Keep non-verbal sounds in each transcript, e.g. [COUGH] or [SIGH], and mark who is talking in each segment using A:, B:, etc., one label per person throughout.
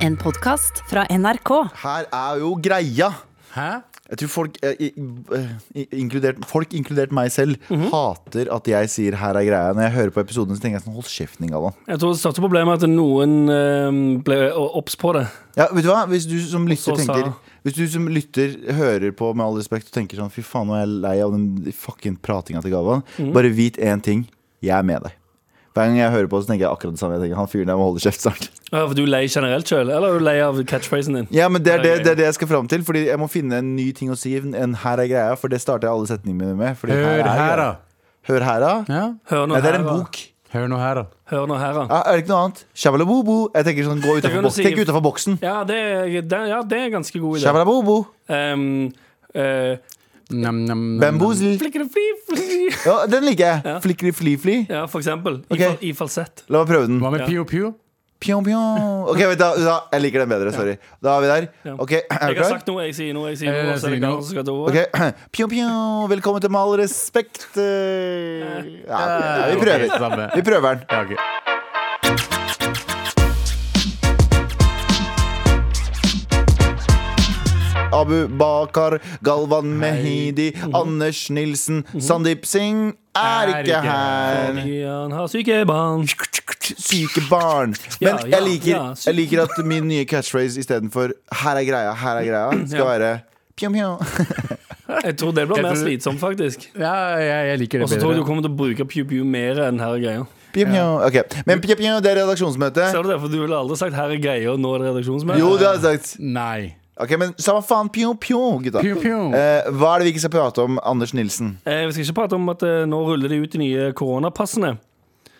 A: En podkast fra NRK.
B: Her er jo greia.
C: Hæ?
B: Jeg tror folk, eh, i- eh, inkludert, folk inkludert meg selv, hater at jeg sier 'her er greia'. Når jeg hører på episoden, så tenker jeg sånn Hold kjeften, Galvan.
D: Jeg tror det største problemet er at noen eh, ble obs på det.
B: Ja, vet du hva? Hvis du som lytter
D: så sa-
B: tenker Hvis du som lytter hører på med all respekt og tenker sånn Fy faen, nå er jeg lei av den fucking pratinga til Galvan. Bare vit én ting. Jeg er med deg. Hver gang jeg hører på, så tenker jeg akkurat det samme. Jeg tenker, Han fyren der må holde kjeft snart.
D: Ja, for du er lei generelt sjøl, eller er du lei av catchphrasen din?
B: Ja, men det er det,
D: Ja, ja, ja.
B: det er det jeg skal fram til. Fordi jeg må finne en ny ting å si enn 'her er greia', for det starter jeg alle setningene mine med. Fordi
C: Hør
B: er
C: her, da.
B: greia. Hør her, da.
C: Ja.
D: Hør nå
B: Nei, det er
D: her,
B: en
D: da.
B: bok.
C: Hør nå her, da.
D: Hør nå her, da.
B: Ja, er det ikke noe annet? Shabalabobo. Jeg tenker sånn, gå
D: kan
B: utenfor
D: du
B: boksen.
D: si-
B: Tenk utenfor boksen.
D: Ja, det, er- det, ja, det er en ganske god idé.
B: Shabalabobo.
D: Um, eh,
C: Nam, nam,
D: Mm.
C: nam,
B: Bamboozle.
D: flikkerifli-
B: Ja, den liker jeg. Flikri fli fli.
D: Ja, for eksempel. I,
B: Ok.
D: fal I falsett.
B: La meg prøve den.
C: nam. Hva med
D: Ja.
C: Pio Pio?
B: Pjong, pjong. Ok, vent da, da. Jeg liker den bedre. Sorry. Da er vi der.
D: Ja.
B: Ok, er
D: Jeg
B: du
D: har
B: klar?
D: sagt noe, jeg sier noe, jeg
C: Ja,
D: sier noe. Så er
C: jeg
D: det
C: sier
D: Galvan
C: noe.
D: som skal ta ordet.
B: Ok, [CLEARS THROAT] Pjong, pjong. Velkommen til Med all respekt. Eh, Ja, ok, vi
C: Ok,
B: prøver.
C: samme.
B: Vi prøver den.
C: Ja, ok.
B: Abu Bakar, Galvan Mehidi,
D: Mhm.
B: Anders Nilsen, Sandeep Singh er ikke her.
D: Han har syke barn.
B: syke barn. Men
D: Ja, ja,
B: jeg, liker,
D: ja, syke
B: jeg liker at min nye catchphrase istedenfor 'her er greia, her er
D: [CLEARS THROAT]
B: greia' skal
D: Ja.
B: være pjom, [LAUGHS] pjom.
D: Jeg tror det blir
C: Jeg
D: mer
C: tror-
D: slitsomt, faktisk.
C: Ja, jeg, jeg liker det
D: Og så tror jeg du
C: bedre.
D: kommer til å bruke Pew Pew mer enn her er greia.
B: Pjom, pjom. Ok, Men pjom, pjom, det er redaksjonsmøte.
D: Ser du det? For du ville aldri sagt 'her er greia' og nå er det redaksjonsmøte.
B: Jo, det har jeg sagt.
C: Nei.
B: Ok, Men samme faen. Pjom, pjom, gutta.
C: Pio Pio.
B: Eh, hva er det vi ikke skal prate om, Anders Nilsen?
D: Eh, Vi skal ikke prate om at eh, nå ruller de ut de nye koronapassene.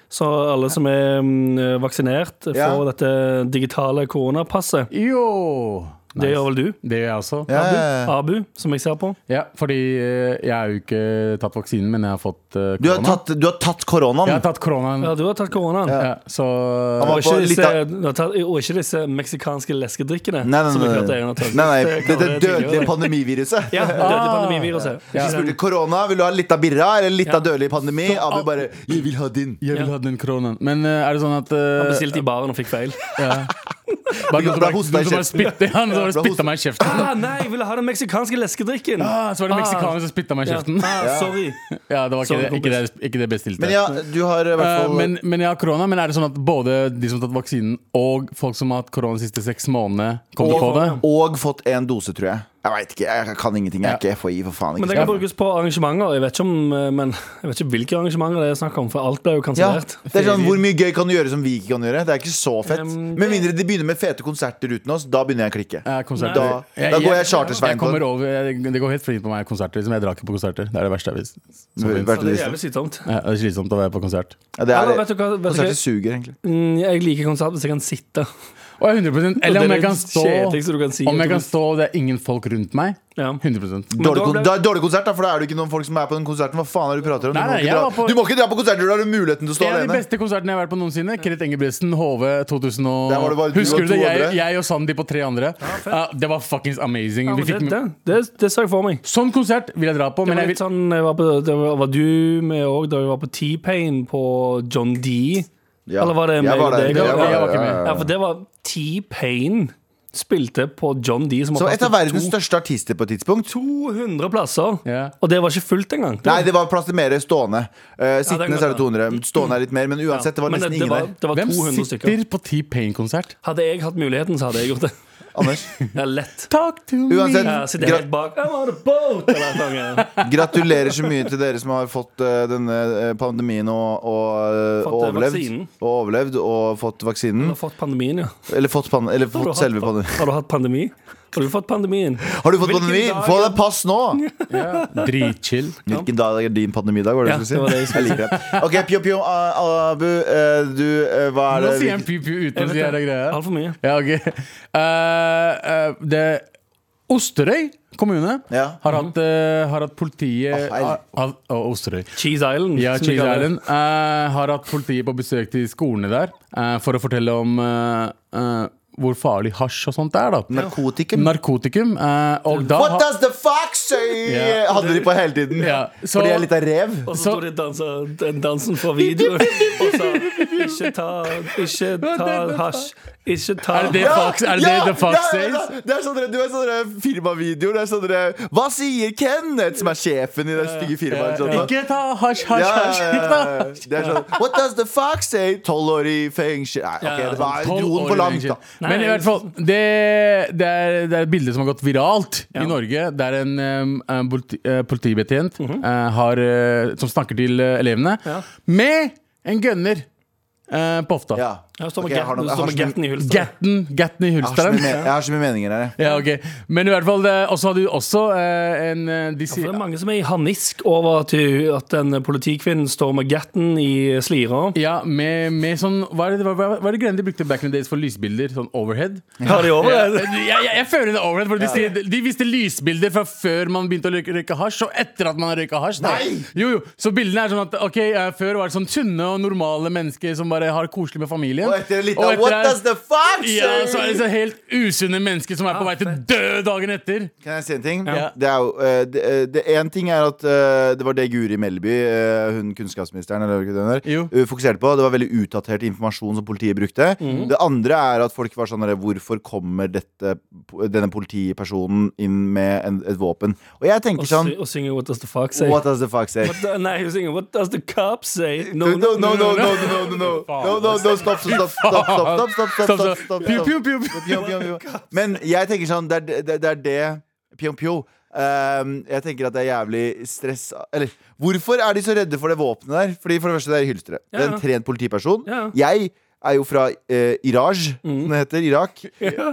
D: Så alle som er mm, vaksinert, får
B: Ja.
D: dette digitale koronapasset.
C: Jo.
D: Det gjør vel du,
C: Det gjør jeg også.
B: Ja.
D: Abu, som jeg ser på.
C: Ja, fordi eh, jeg har jo ikke tatt vaksinen, men jeg har fått eh,
B: Du, har
C: korona.
B: tatt, du har tatt koronaen.
C: Jeg har tatt koronaen.
D: Ja, du har tatt koronaen.
C: Ja, så
B: Han var
D: Og
B: på
D: ikke,
B: litt
D: disse,
B: av-
D: du har tatt- og ikke disse meksikanske leskedrikkene.
B: Nei, nei,
D: som jeg
B: nei.
D: hørte en har
B: nei,
D: tatt.
B: nei.
D: Det
B: Det, det
D: kaller jeg
B: dødelige
D: tidligere.
B: pandemiviruset.
D: Ja, dødelig pandemiviruset.
B: Vi spurte korona, vil du ha litt av birra eller litt av dødelig pandemi? Abu bare 'jeg vil ha din'.
C: jeg vil
D: Ja.
C: ha den koronaen. Men eh, er det sånn at eh,
D: Han bestilte i baren og
B: [LAUGHS]
D: fikk feil.
C: ja. Bare
B: Du
C: noen som
B: ble
C: bare,
B: hostet i
C: noen som bare
B: kjeften.
C: spytte ja, noen som
B: Ja,
C: bare
B: ble hostet.
C: spytta meg i kjeften.
D: Ah, nei, jeg ville ha den meksikanske leskedrikken!
C: Ah, så var det
D: Ah.
C: meksikaner som spytta meg i
D: Ja.
C: kjeften.
D: Ah, sorry.
C: Ja, det var
D: Sorry,
C: ikke, det, ikke,
D: kompis.
C: det, ikke det bestilte.
B: Men ja, du har i hvert
C: Eh,
B: fall
C: men, men jeg har korona, men er det sånn at både de som har tatt vaksinen og folk som har hatt korona de siste seks månedene, kommer til å få det?
B: Og fått en dose, tror jeg. Jeg veit ikke. Jeg kan ingenting. Jeg er ikke FHI, for faen.
D: Men det
B: Ikke
D: kan brukes på arrangementer. Jeg vet ikke, om, eh, men, jeg vet ikke hvilke arrangementer det er snakk om, for alt ble
B: ja,
D: jo kansellert.
B: det er sånn, Hvor mye gøy kan du gjøre som vi ikke kan gjøre? Det er ikke så fett.
D: Um,
B: Med mindre de begynner med fete konserter uten oss. Da begynner jeg å klikke.
C: Eh, konserter.
B: Da, da går jeg
C: Jeg
B: chartersveien på
C: kommer
B: den.
C: over, jeg, det går helt fint på meg konserter. Liksom. Jeg drar ikke på konserter. Det er det verste jeg vet.
B: Vært
D: Ja, det er
B: listen.
D: jævlig slitsomt.
C: Ja, det er slitsomt å være på konsert.
B: Ja, det
D: Eller,
B: er
D: vet du hva, vet du
B: Konserter
D: hva?
B: suger, egentlig.
D: Mm, Jeg liker konsert hvis jeg kan sitte.
C: Og jeg er 100
D: Det er
C: Eller om jeg
D: det
C: kan stå
D: kjedeligste du kan si,
C: Om jeg
D: at du-
C: kan stå og det er ingen folk rundt meg.
D: Ja.
C: 100
B: Dårlig,
D: Men da
B: kon
D: ble-
B: da, er dårlig konsert, da, for da er det ikke noen folk som er på den konserten. Hva faen er det du prater om? du,
C: Nei,
B: må ikke
C: nei, jeg
B: dra,
C: var på-
B: du må ikke dra på konserter du har muligheten til å stå
C: En av de
B: alene.
C: beste konsertene jeg har vært på noensinne. Kenneth Engebretsen, HV 2000 og
B: Der var det bare du og
C: Husker du det?
B: to
C: Jeg,
B: andre.
C: jeg og Sandeep og tre andre. Ja, det var fuckings amazing.
D: Ja,
C: Vi
D: men det,
C: fikk
D: det, det, det så jeg for meg.
C: Sånn konsert vil jeg dra på,
D: Det
C: men
D: var
C: jeg vil
D: litt sånn, jeg var, på, det var, var du med òg da vi var på T-Pain på John D?
B: Ja.
D: Eller var det
B: jeg
D: meg
B: var
D: og
B: der. Jeg
D: deg?
B: var,
C: Jeg var
B: der,
C: ikke med.
B: ja, ja,
D: Ja, for det var T-Pain spilte på John D, som
B: ja. Så
D: har
B: et av
D: plass
B: verdens
D: til
B: største artister på et tidspunkt.
D: 200 plasser,
C: Ja.
D: og det var ikke fullt engang.
B: Nei, det var plass til mer stående. Eh, sittende
D: kan-
B: så er det 200. Stående er litt mer, men uansett, det var
D: Men
B: nesten
D: det
B: ingen
D: var,
B: der.
D: det var
C: Hvem
D: 200 stykker.
C: sitter på T-Pain-konsert?
D: Hadde jeg hatt muligheten, så hadde jeg gjort det. [LAUGHS]
B: Anders,
D: Ja, lett.
C: Talk to me
B: Uansett.
D: Ja, sitter helt bak I'm on a boat! Eller noe sånt.
B: gratulerer så mye til dere som har fått eh, denne eh, pandemien og, og, eh,
D: Fått,
B: og
D: eh,
B: overlevd.
D: vaksinen.
B: Og overlevd og fått
D: Du
B: vaksinen.
D: har fått pandemien, ja.
B: Eller fått, pan eller
D: Har du
B: fått
D: hatt-
B: selve pandemien.
D: Har du hatt pandemi? Har du fått pandemien?
B: Har du fått
D: Hvilken
B: pandemi?
D: dag-
B: Få deg pass nå!
C: Ja. Dritchill.
B: Hvilken dag er din pandemidag, var det du
D: Ja,
B: skulle
D: det var
B: si?
D: det jeg skulle
B: jeg liker det. Ok, Pjo Pjo, ah, Abu, eh, du, eh, hva er
C: Nå
B: det
C: sier han piu-piu uten å si hele greia.
D: Altfor mye.
C: Ja, ok. Eh, eh, det Osterøy kommune
B: Ja.
C: har, hatt, eh, har hatt politiet
B: Å, hei.
C: har- har- Å, Osterøy.
D: Cheese Island.
C: Ja,
D: som de
C: Cheese
D: kaller det.
C: Island eh, har hatt politiet på besøk til skolene der eh, for å fortelle om eh, eh, hvor farlig hasj og sånt er. da
B: Narkotikum?
C: Narkotikum. eh, og da
B: What
C: har-
B: does the fox say?
C: Ja.
B: Hadde de på hele tiden.
C: Ja, så-
B: Fordi jeg er litt av rev.
D: Og så
C: Så-
D: sto de og dansa den dansen fra videoen og sa ikke ta, ikke ta hasj. Ikke ta
C: Er det det fox- er det det the fox
B: det er-
C: says?
B: Det er sånne, du vet sånne firmavideoer. Det er sånne Hva sier Kenneth, som er sjefen i det stygge firmaet? sånn.
C: Ikke ta hasj, hasj,
B: Ja,
C: hasj!
B: ja,
C: Ikke
B: ja,
C: ta
B: ja.
C: hasj.
B: Det er sånn What does the fox say? Tolv år i fengsel Nei, ok, det var
C: Tolv
B: noen
C: år
B: på langt,
C: fengsel.
B: da.
C: Men i hvert fall, det, det, er, det er et bilde som har gått viralt i Norge. Der en em, em, politi, eh, politibetjent eh, har, eh, som snakker til eh, elevene,
D: Mhm. Ja.
C: med en gunner eh, på hofta.
B: Ja.
D: Her står
B: Ok,
D: med
B: jeg har
D: Gatten-
B: noe-
D: det
B: jeg
D: står
B: har sånn-
D: med
B: så mye-
D: Gatten i hulsteret.
C: Gatten, gatten i
B: jeg har så
C: hulsteren.
B: mye me- jeg har så mye meninger her. jeg.
C: [LAUGHS] Ja, ok Men i hvert fall, det, også hadde jo også eh, en eh, de
D: For det
C: sier,
D: er mange som er i harnisk over til at den politikvinnen står med Gatten i slira.
C: Ja, med, med sånn Hva er det, hva, hva hva er det greiene de brukte back in the days for lysbilder? Sånn overhead?
D: Har de over
C: Ja,
D: det?
C: jeg, jeg, jeg føler det er overhead. For de, sier, de viste lysbilder fra før man begynte å røyke, røyke hasj, og etter at man har røyka hasj. da.
B: Nei!
C: Jo, jo. Så bildene er sånn at ok, eh, før var det sånn sunne og normale mennesker som bare har det koselig med familien.
B: Og etter litt
C: Og
B: av
C: etter
B: What
C: er-
B: does the fox say?
C: ja, så er det så helt usunne mennesker som er på vei til å dø dagen etter.
B: Kan jeg si en ting?
C: Ja.
B: Det er jo eh, det, eh, det en ting er at eh, det var det Guri Melby, eh, hun kunnskapsministeren, eller hva det
C: Jo.
B: er, eh, fokuserte på. Det var veldig utdatert informasjon som politiet brukte.
C: Mm.
B: Det andre er at folk var sånn der, Hvorfor kommer dette, denne politipersonen inn med en, et våpen? Og jeg
D: Og,
B: tenker sånn
D: sy og synger What does the fuck say?
B: What does the fox say?
D: What the, nei, hun synger What does the cop say?
B: No, no, no, no, no, no, no,
D: [LAUGHS]
B: no, no, no, no, stopp, stopp, stopp, stopp, stopp, stopp, stopp, stopp, stopp,
C: Pju,
B: stopp.
C: pju, pju, pju.
B: Pjo, pjo,
D: Oh
B: pjo. Men jeg tenker sånn, det er det, det, er det Pjo, pjo Ehm, Jeg tenker at det er jævlig stress Eller, hvorfor er de så redde for det våpenet der? Fordi for det første, det er hylstre Det er
D: Ja.
B: en trent politiperson
D: Ja. Mm.
B: Jeg er jo fra eh, Iraj, som det heter,
D: [LAUGHS]
B: Irak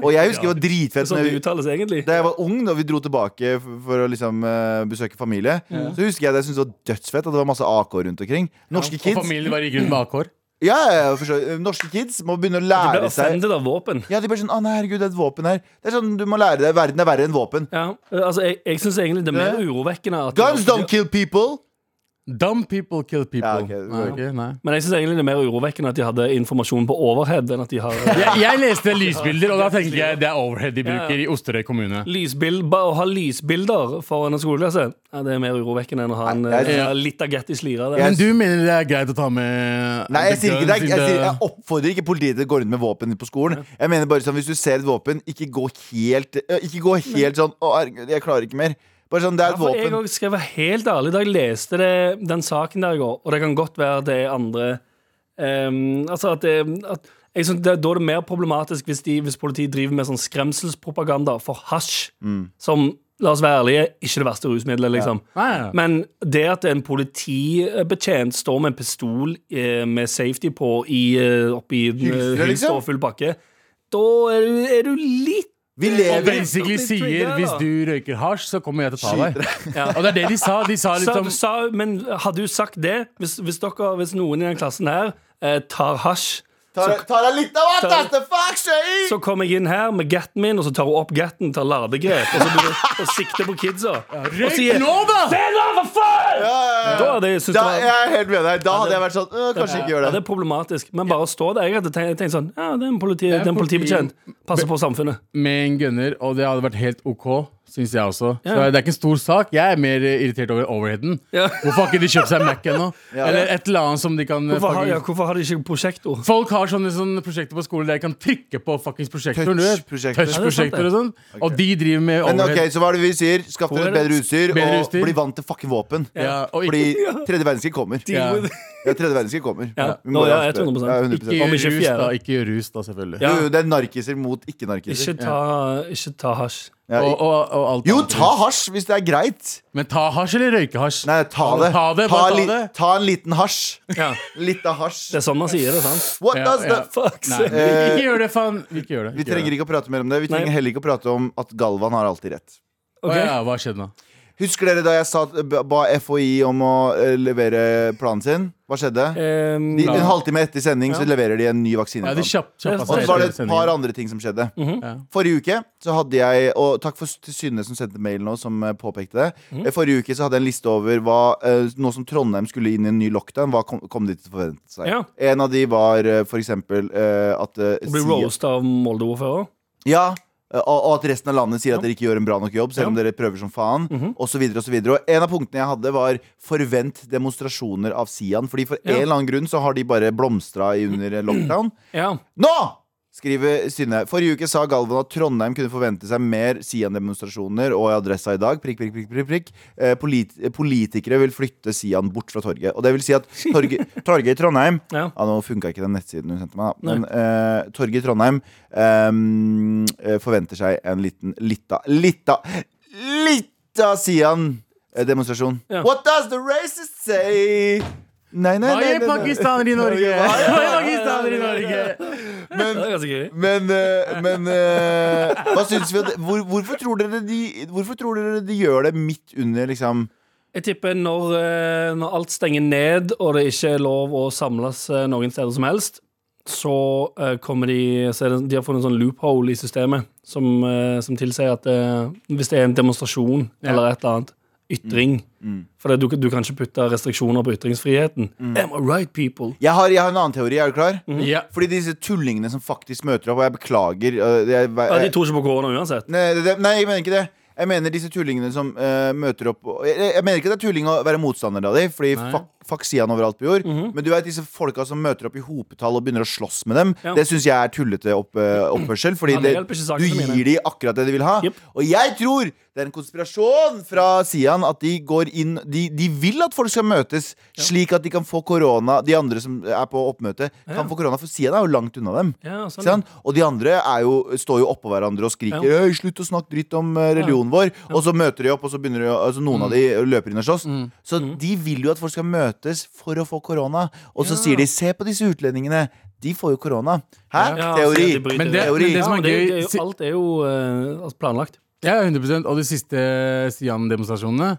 B: Og jeg husker det var
D: Det er
B: dritfett
D: sånn
B: når
D: det
B: vi-
D: uttales egentlig.
B: da jeg var ung, da vi dro tilbake f- for å liksom eh, besøke familie, så husker jeg det jeg syntes det var dødsfett at det var masse AK rundt omkring. Norske
C: Og
B: kids
C: familien bare gikk rundt med AK-er.
B: ja, ja, ja, for så- Norske kids må begynne å
D: De
B: lære
D: blir
B: seg
D: offendet av våpen.
B: Ja, de blir sånn 'Å, nei, herregud, det er et våpen her'. Det er sånn, Du må lære deg verden er verre enn våpen.
D: Ja, altså Jeg, jeg syns egentlig det er mer
B: Det-
D: urovekkende at
B: Guns don't kill people!
C: Dumb people kill people.
B: Ja, ok, det
C: nei,
B: går
C: ok, nei.
D: Men jeg synes egentlig det er mer urovekkende at de hadde informasjon på overhead enn at de har eh,
B: [LAUGHS]
C: Jeg, jeg leste lysbilder, og da tenkte jeg det er overhead de bruker i Osterøy kommune.
D: Lysbild, bare å ha lysbilder foran en skoleklasse ja, Det er mer urovekkende enn å ha en,
B: Nei, jeg-
D: eh, litt agett i slira. der.
B: Jeg-
C: Men du mener det er greit å ta med
B: Nei, jeg, sier ikke, det er, jeg, sier, jeg
C: det.
B: oppfordrer ikke politiet til å gå rundt med våpen på skolen. Jeg mener bare sånn, Hvis du ser et våpen, ikke gå helt eh, Ikke gå helt sånn 'Å, herregud, jeg klarer ikke mer'. Bare sånn, det er
D: Ja,
B: et
D: for jeg
B: våpen.
D: også skal være helt ærlig, da jeg leste det, den saken der i går, og det kan godt være det er andre ehm, Altså at det at jeg synes det, Da er det mer problematisk hvis, de, hvis politiet driver med sånn skremselspropaganda for hasj, som La oss være ærlige, ikke det verste rusmiddelet, liksom.
C: Nei, ja.
D: Men det at en politibetjent står med en pistol eh, med safety på i, eh, oppi
B: Hylstre,
D: hylster
B: liksom?
D: og full pakke, da er du, er du litt
B: Vi
C: Og
B: lever
C: basically sier hvis du røyker hasj, så kommer jeg til å ta deg. Og det er det de sa. De sa
D: sa,
C: liksom
D: sa, men hadde du sagt det hvis, hvis, dere, hvis noen i den klassen her eh, tar hasj
B: Ta deg- ta deg litt av what does the fox say?
D: så kommer jeg inn her med gatten min, og så tar hun opp gatten, tar ladegrep og, så blir- og sikter på kidsa. Og sier
C: Røyk nå, da!
D: «Stand up for fun!» Da hadde jeg syntes
B: Da,
D: det
B: jeg
D: var
B: er helt med deg. Da hadde jeg vært sånn «Øh, Kanskje ikke gjør
D: ja, det
B: det.
D: er problematisk, men bare å stå der. Jeg hadde tenkt, jeg tenkte sånn Ja, det er en, politi, det
C: er
D: er en
C: politi-
D: politibetjent. Passer på samfunnet.
C: Med en gunner, og det hadde vært helt OK, syns jeg også. Så det er ikke en stor sak. Jeg er mer irritert over overheaden.
D: Ja.
C: Hvorfor har ikke de kjøpt seg Mac
D: [LAUGHS]
C: ennå? Eller et eller annet som de kan
D: Hvorfor har, ja,
C: fucking-
D: hvorfor har de ikke prosjektor?
C: Folk har sånne, sånne prosjekter på skolen der de kan trykke på fuckings prosjekter. du vet.
B: Touch-prosjekter.
C: Touch-prosjekter og sånn. Og de driver med
B: Men ok,
C: overhead.
B: Så hva er det vi sier? Skaff dere et bedre utstyr,
C: Bedre
B: og
C: utstyr.
B: bli vant til fucking våpen.
C: Ja, og
B: Fordi
C: ikke,
B: tredje verdenskrig kommer. Ja,
C: ja.
B: tredje verdenskrig kommer.
D: Ja.
B: Vi må
D: Nå, ja,
B: være
D: jeg er 100%.
B: Ja, 100%.
C: ikke
D: Om ikke
C: rus,
D: fjerde.
C: da. Ikke rus, da, selvfølgelig.
B: Jo, jo, det er narkiser mot ikke-narkiser.
D: [LAUGHS] Ikke ta, ikke ta hasj.
B: Ja,
C: Og,
B: i-
C: og, og alt
B: jo,
C: annet.
B: ta hasj hvis det er greit.
C: Men ta hasj eller røykehasj?
B: Nei, ta det.
C: Ta det, bare ta
B: li-
C: det.
B: ta en liten hasj.
D: Ja.
B: Litt av hasj.
D: Det er sånn man sier det, sant?
B: What
C: Ja,
B: does
C: ja.
B: the fuck?
C: [LAUGHS] Nei, men ikke, ikke gjør det, faen. Ikke gjør det.
B: Vi
C: ikke gjør
B: trenger
C: det.
B: ikke å prate mer om det. Vi
D: Nei.
B: trenger heller ikke å prate om at Galvan har alltid rett.
C: Å
D: Ok.
C: ja, hva skjedde nå?
B: Husker dere da jeg sa, ba FHI om å eh, levere planen sin? Hva skjedde?
D: Ehm,
B: De, en halvtime etter sending så leverer de en ny
C: Ja,
B: vaksineplan.
C: de kjapp, kjappa
B: og
C: seg
B: så var det et
C: sendingen.
B: par andre ting som skjedde.
C: Ja.
B: Forrige uke så hadde jeg Og takk for, til Synne som sendte mail nå, som eh, påpekte det.
C: Mhm.
B: Eh, Forrige uke så hadde jeg en liste over hva eh, Nå som Trondheim skulle inn i en ny lockdown, hva kom, kom de til å forvente seg?
D: Ja.
B: En av de var eh, for eksempel eh, at eh,
D: Å bli
B: si-
D: roasta av Molde-ordfører.
B: Ja eh, og, og at resten av landet sier at dere ikke gjør en bra nok jobb, selv om dere prøver som faen. Og så videre og så videre. Og en av punktene jeg hadde, var forvent demonstrasjoner av Sian. Fordi for
D: Ja.
B: en eller annen grunn så har de bare blomstra i under lockdown.
D: Ja.
B: Nå! Skriver Synne. Forrige uke sa Galvan at Trondheim kunne forvente seg mer Sian-demonstrasjoner, og i adressa i dag prikk, prikk, prikk, prikk, prikk. Eh, polit eh, politikere vil flytte Sian bort fra torget. Og det vil si at torget, torget i Trondheim
D: Ja.
B: ja, Nå funka ikke den nettsiden hun sendte meg, da. Men eh, torget i Trondheim ehm, eh, forventer seg en liten litta Litta Litta Sian-demonstrasjon.
D: Ja.
B: eh, What does the racist say? Nei, nei,
C: Hva
B: nei,
C: gjør
B: nei, nei.
C: pakistanere i Norge? Hva gjør pakistanere i Norge?
D: Det er ganske gøy.
B: Men, eh, men eh, hva syns vi at, hvor, hvorfor, tror dere de, hvorfor tror dere de gjør det midt under, liksom?
D: Jeg tipper når, eh, når alt stenger ned, og det ikke er lov å samles eh, noen steder som helst, så eh, kommer de så er det, De har funnet en sånn loophole i systemet som, eh, som tilsier at eh, hvis det er en demonstrasjon
C: Ja. Mm.
D: eller et eller annet ytring For det, du, du kan ikke putte restriksjoner på ytringsfriheten.
C: Mm.
D: Am I right, people?
B: Jeg har, jeg har en annen teori. Er du klar?
D: Mm.
C: Ja.
B: Fordi disse tullingene som faktisk møter opp, og jeg beklager eh, jeg,
D: Ja, de
B: jeg,
D: tror ikke på korona uansett.
B: nei, det, det- nei, jeg mener ikke det. Jeg mener disse tullingene som eh, møter opp og- jeg, jeg mener ikke det er tulling å være motstander av dem, Fordi
C: Nei.
B: fuck, fuck Sian overalt på jord.
D: Mhm.
B: Men du vet disse folka som møter opp i hopetall og begynner å slåss med dem,
D: Ja.
B: det syns jeg er tullete opp, eh, oppførsel. Fordi
D: Ja, det
B: det,
D: hjelper ikke
B: du
D: sakene mine.
B: gir de akkurat det de vil ha.
D: Jep.
B: Og jeg tror det er en konspirasjon fra Sian at de går inn De, de vil at folk skal møtes, slik at de kan få korona. De andre som er på oppmøte, kan få korona, for Sian er jo langt unna dem.
D: Ja, sånn.
B: Ikke sant? Og de andre er jo, står jo oppå hverandre og skriker
D: Ja.
B: «Øy, 'slutt å snakke dritt om eh, religionen vår', og så møter de opp, og så begynner de, å- altså noen av de
D: Mm.
B: løper inn og slåss. Så de vil jo at folk skal møtes for å få korona, og så sier de 'se på disse utlendingene', de får jo korona. Hæ?
D: Ja,
B: Teori.
D: så de bryter
C: Men det-
B: Teori.
C: men det
D: Ja,
C: som er
D: men det,
C: gøy-
D: det er jo, alt er jo eh, altså planlagt.
C: Ja, 100 Og de siste Sian-demonstrasjonene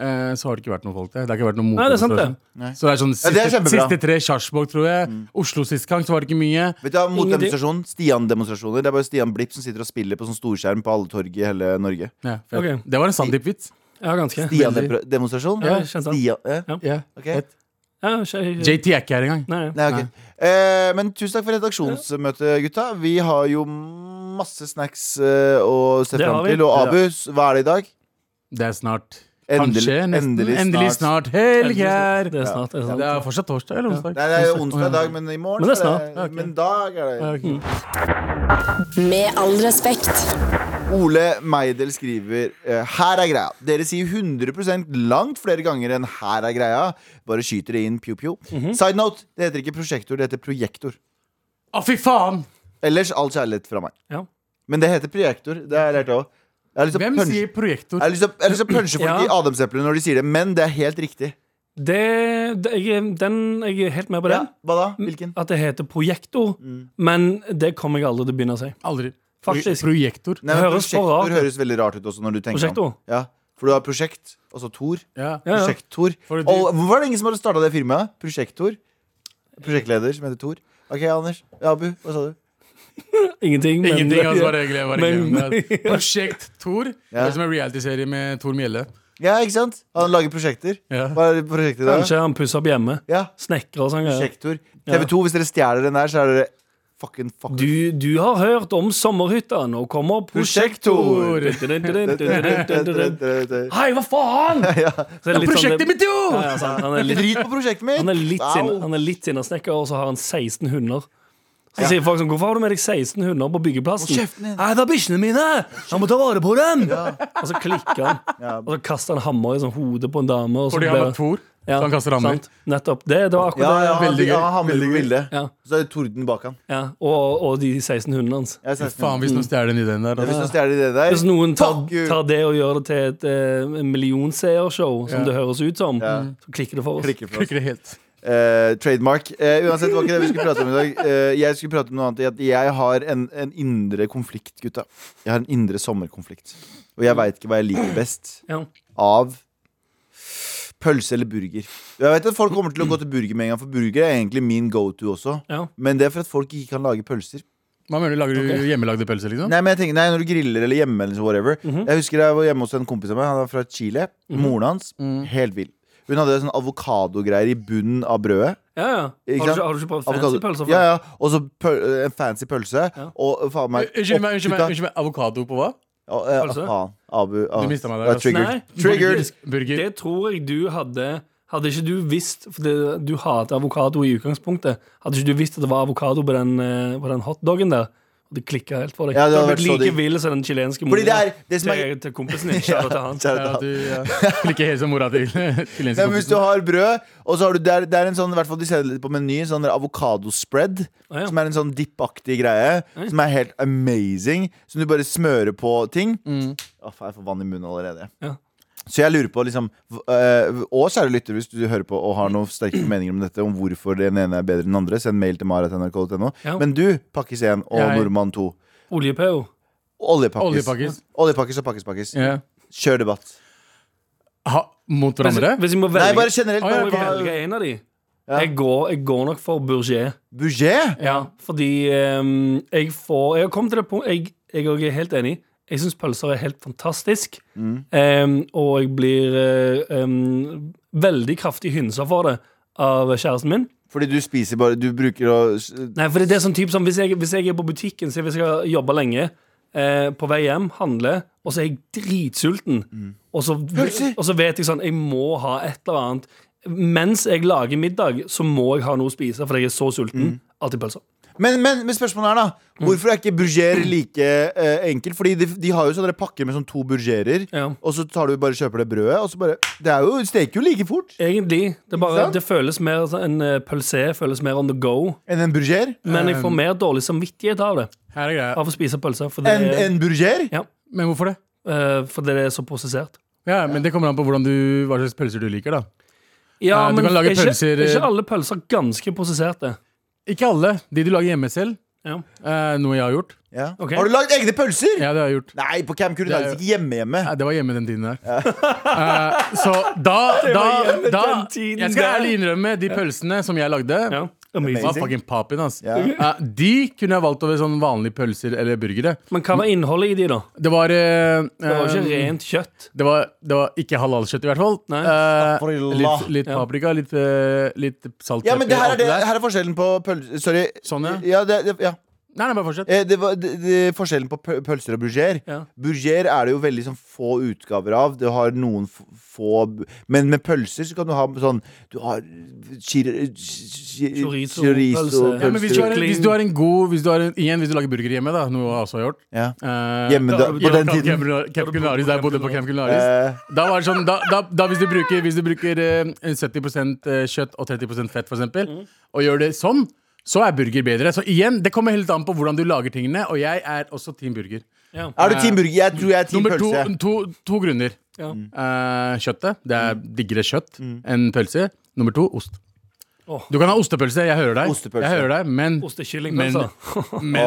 C: eh, så har det ikke vært noen folk der. Det har ikke vært noen
D: Nei, det er sant, det.
C: motdemonstrasjon. Så det er sånn
B: Ja,
C: siste,
B: det er kjempebra. Mm.
C: siste tre Kjarsborg, tror jeg. Oslo sist gang, så var det ikke mye.
B: Vet du hva,
D: Ingenting.
B: Motdemonstrasjon. Stian-demonstrasjoner. Det er bare Stian Blipp som sitter og spiller på sånn storskjerm på alle torg i hele Norge.
C: Ja, fett.
D: Ok.
C: Det var en sann vits
D: Ja, ganske.
B: Stian-demonstrasjon?
D: Ja, jeg skjønte det.
B: Stian, eh,
C: Ja.
B: ok.
C: Fett.
D: Ja, skje-
C: JT er ikke her engang.
D: Nei,
B: Nei, ok.
C: Nei.
B: Eh, men tusen takk for redaksjonsmøtet, gutta. Vi har jo masse snacks eh, å se
D: Det
B: fram
D: har vi.
B: til. Og Abus, hva er det i dag?
C: Det er snart.
B: Endelig-
C: Kanskje. Nesten.
B: endelig
C: Endelig,
B: snart.
C: snart. Helg her!
D: Det er snart. Det er
C: Det
D: snart.
C: er fortsatt torsdag eller
B: Nei,
C: onsdag?
B: det er jo
C: Onsdag.
B: onsdag i dag, men i morgen
D: Men det er
B: så
D: snart.
B: Men dag er det
C: Ja, ok.
A: Med all respekt.
B: Ole Meidel skriver eh, Her er greia. Dere sier 100 langt flere ganger enn 'her er greia'. Bare skyter det inn pjo-pjo. Side note, det heter ikke prosjektor, det heter projektor.
C: Å, fy faen!
B: Ellers all kjærlighet fra meg.
D: Ja.
B: Men det heter projektor. Det har jeg lært òg. Jeg har lyst til å
C: Hvem
B: punche-
C: sier
B: jeg
C: projektor?
B: har lyst til å- jeg har lyst til å punche folk
D: Ja.
B: i adamseplet når de sier det, men det er helt riktig.
D: Det, det jeg, er- den, jeg er helt med på
B: Ja,
D: den.
B: hva da? Hvilken?
D: At det heter projektor. Men det kommer jeg aldri til å begynne å si.
C: Aldri.
D: Faktisk.
C: Projektor.
B: Nei, men
D: høres for
B: prosjektor
D: rart ut.
B: høres veldig rart ut også når du tenker om.
D: Prosjektor?
B: Ja, for du har prosjekt, og så Tor.
C: Ja.
D: Ja, ja.
B: Prosjekt-Tor.
C: For de-
B: Og Hvorfor er det ingen som har starta det firmaet? Prosjekt-Tor? Prosjektleder som heter Tor. Ok, Anders. Ja, Abu, hva sa du?
D: Ingenting. Men,
C: Ingenting. Altså, bare glem, bare glem.
D: Men- [LAUGHS]
C: det. Prosjekt Tor.
B: Ja.
C: Det som er reality-serie med Tor Mjelle.
B: Ja, ikke sant? Han lager prosjekter.
C: Ja.
B: Hva er prosjektet i dag?
D: Kanskje han pusser opp hjemme.
B: Ja,
D: Snekrer og sånn. greier.
B: prosjekt-Tor. TV2, hvis dere stjeler den der, så er dere fucking fuck.
D: Du, du har hørt om sommerhytta. Nå kommer
B: Prosjektor.
D: prosjektor. Hei, hva faen?! Så er det litt sånn-
C: Prosjektet mitt, jo!
D: Ja, ja, sant. Han er litt
B: Drit på prosjektet mitt!
D: Han er litt
B: Au.
D: sinna- han er litt sinna snekker, og så har han 16 hunder. Så sier folk sånn, Hvorfor har du med deg 16 hunder på byggeplassen?
B: Hold kjeften din.
D: Nei, det er bikkjene mine! Han må ta vare på dem! Og så klikker han.
B: Ja.
D: Og så kaster han hammer i sånn hodet på en dame. Og så
C: Fordi
D: ble-
C: han er Tor.
D: Ja,
C: så han kaster hammer.
D: sant. Nettopp. Det, det var akkurat
B: Ja, ja,
D: det.
B: han,
C: Veldig gøy.
B: ja, han veldig bilde.
D: Ja.
B: Så er det torden bak han.
D: Ja. Og, og de 16 hundene hans.
B: Jeg er 16.
D: Mm.
C: Faen, hvis noen stjeler den ideen der.
B: Hvis
C: Da.
B: noen stjeler det der
D: altså. Hvis noen tar,
B: Fuck you.
D: tar det og gjør det til et eh, millionseershow, som
C: Ja.
D: det høres ut som,
B: Ja.
D: så klikker det for oss.
B: Klikker for oss.
C: Klikker det helt.
B: Eh, trademark. Eh, uansett, det var ikke det vi skulle prate om i dag. Eh, jeg skulle prate om noe annet. Jeg, jeg har en, en indre konflikt, gutta. Jeg har en indre sommerkonflikt. Og jeg veit ikke hva jeg liker best
D: Ja.
B: av pølse eller burger. Jeg vet at Folk kommer til å gå til burger med en gang, for burger er egentlig min go to også.
D: Ja.
B: Men det er for at folk ikke kan lage pølser.
C: Hva mener du, Lager du hjemmelagde pølser, liksom?
B: Nei, men jeg tenker, nei, Når du griller eller hjemme eller så, whatever
C: Mhm.
B: Jeg husker jeg var hjemme hos en kompis av meg. Han var fra Chile. Moren hans,
C: Mhm.
B: helt vill. Hun hadde sånn avokadogreier i bunnen av brødet.
D: Ja, ja. Har, du
B: Ikke sant?
D: ikke, har du ikke prøvd fancy
B: Avokado-
D: pølser før?
B: Ja, ja. Og så pøl- en fancy pølse. Og faen meg
C: Eh, Unnskyld meg, unnskyld meg,
B: oppkutta-
C: unnskyld meg. Avokado på hva?
B: Å, eh,
D: Pølse?
B: faen. Abu. ah,
C: Du mistet meg der,
B: jeg er
C: altså.
B: Triggered.
D: Nei.
B: Triggered.
C: Burger.
D: Det tror jeg du hadde Hadde ikke du visst For det, du hater avokado i utgangspunktet Hadde ikke du visst at det var avokado på den, eh, på den hotdoggen der Og det klikket helt for deg
B: Ja, det
D: Du
B: hadde
D: hadde
B: vært
D: vært
B: så
D: like
B: digg.
D: vill som den chilenske
B: Fordi det er det som er
D: til, til kompisen din Kjære
B: [LAUGHS]
D: til han
B: Kjære til
C: Ja,
B: han.
C: du ja. klikker helt som mora til [LAUGHS] chilenske
B: Ja, men hvis du
C: kompisen.
B: har brød, og så har du Det er, det er en sånn, i hvert fall de selger det på menyen, sånn der avokadospread.
D: Å, ja.
B: Som er en sånn dippaktig greie. Som er helt amazing. Som du bare smører på ting. Å, faen, jeg får vann i munnen allerede.
D: Ja.
B: Så jeg lurer på liksom v- øh, Og kjære lytter, hvis du hører på og har noen
D: [CLEARS THROAT]
B: sterke meninger om dette, om hvorfor den ene er bedre enn den andre, send mail til mara.nrk.no.
D: Ja.
B: Men du, Pakkis 1 og
C: Jeg-
B: Nordmann 2.
D: Oljepeo
B: Oljepakkis.
C: Oljepakkis.
B: Oljepakkis og Pakkis-Pakkis.
C: Ja.
B: Kjør debatt.
C: Ha, mot
D: hvis,
C: hverandre?
D: hvis jeg må
B: Nei,
D: velge,
B: bare generelt.
C: Å, ja,
D: må jeg
B: bare-
D: velge en av de
B: Ja.
D: jeg, går, jeg går nok for Bourget
B: Buget?
D: Ja, fordi ehm, jeg får Jeg har kommet til det punkt Jeg, jeg også er helt enig. Jeg syns pølser er helt fantastisk. Ehm, og jeg blir eh, ehm, veldig kraftig hynsa for det av kjæresten min.
B: Fordi du spiser bare Du bruker å
D: Nei, for det er sånn typ som hvis jeg, hvis jeg er på butikken, så hvis jeg har jobba lenge, eh, på vei hjem, handler, og så er jeg dritsulten, og, så,
B: Pølser!
D: og så vet jeg sånn Jeg må ha et eller annet. Mens jeg lager middag, så må jeg ha noe å spise, fordi jeg er så sulten. Alltid pølser.
B: Men, men, men spørsmålet er da
C: Mm.
B: Hvorfor er ikke burger like eh, enkelt? Fordi de, de har jo sånne pakker med sånn to burgerer
D: Ja.
B: Og så tar du bare kjøper det brødet Og så bare, det er jo, det steker jo like fort
D: Egentlig. Det, er bare,
B: sant?
D: det føles mer sånn- En eh, pølse føles mer on the go.
B: Enn en burger
D: Men jeg får mer dårlig samvittighet av det.
C: Her er greia.
D: Av å spise pølse. For det,
B: En, en burger?
D: Ja,
C: Men hvorfor det?
D: eh, fordi det er så prosessert.
C: Ja, men Det kommer an på hvordan du, hva slags pølser du liker. da
D: Ja,
C: Eh, du
D: men
C: kan
D: er
C: lage
D: ikke,
C: pølser,
D: er
C: eh,
D: ikke alle pølser ganske prosesserte?
C: Ikke alle. De du lager hjemme selv.
D: Ja.
C: eh, noe jeg har gjort.
B: Ja.
D: Ok.
B: Har du laget egne pølser?
C: Ja, det har jeg gjort
B: Nei, på Camp Kure
C: Det er
B: lages ikke hjemme hjemme
C: Nei, Det var hjemme den tiden der. Eh, så da,
D: [LAUGHS]
C: da,
D: hjemme
C: da
D: den tiden
C: Jeg skal
D: der.
C: ærlig innrømme de pølsene som jeg lagde,
D: Ja. Amazing.
C: var fucking papin. ass
B: Ja.
C: Eh, De kunne jeg valgt over sånn vanlige pølser eller burgere.
D: Men hva var innholdet i de, da?
C: Det var eh,
D: Det var
C: eh,
D: ikke rent kjøtt.
C: det var, det var ikke halalkjøtt, i hvert fall.
D: Nei.
C: Eh,
B: Afarilla.
C: litt, litt
D: Ja.
C: paprika, litt, eh, litt salt
B: Ja, men det her
C: alt
B: er, det,
C: der.
B: her er forskjellen på pølser Sorry
C: Sånn, ja.
B: det, det, ja.
C: Nei, nei, bare fortsett.
B: Eh, Det var det, det, forskjellen på pø- pølser og burger.
D: Ja.
B: Burger er det jo veldig sånn få utgaver av. Du har noen f- få b- Men med pølser så kan du ha sånn Du har
D: Chorizo, pølse.
C: Ja, men hvis, du har,
B: chorizo-pølser.
D: Kling.
C: hvis du har en god hvis du har en, Igjen, hvis du lager burger hjemme, da, noe jeg også har gjort
B: Ja.
C: eh,
B: Hjemme da,
D: da-
B: på den
C: Camp
B: tiden.
C: Culinaris- Camp Culinaris, da jeg bodde på Camp Culinaris.
B: Eh,
C: Da var det sånn, da, da, da hvis du bruker, hvis du bruker eh, 70 kjøtt og 30 fett, for eksempel, og gjør det sånn, så er burger bedre. Så igjen, det kommer helt an på hvordan du lager tingene, og jeg er også team burger.
D: Ja.
B: er du team burger? Jeg tror jeg er team
C: Nummer to,
B: pølse.
C: to, to grunner.
D: Ja.
C: Eh, kjøttet. Det er
B: Mm.
C: diggere kjøtt enn pølse. Nummer to ost.
D: Åh.
C: Du kan ha ostepølse, jeg hører deg,
B: Ostepølse.
C: Jeg hører deg men
D: Ostekyllingpølser.
C: men,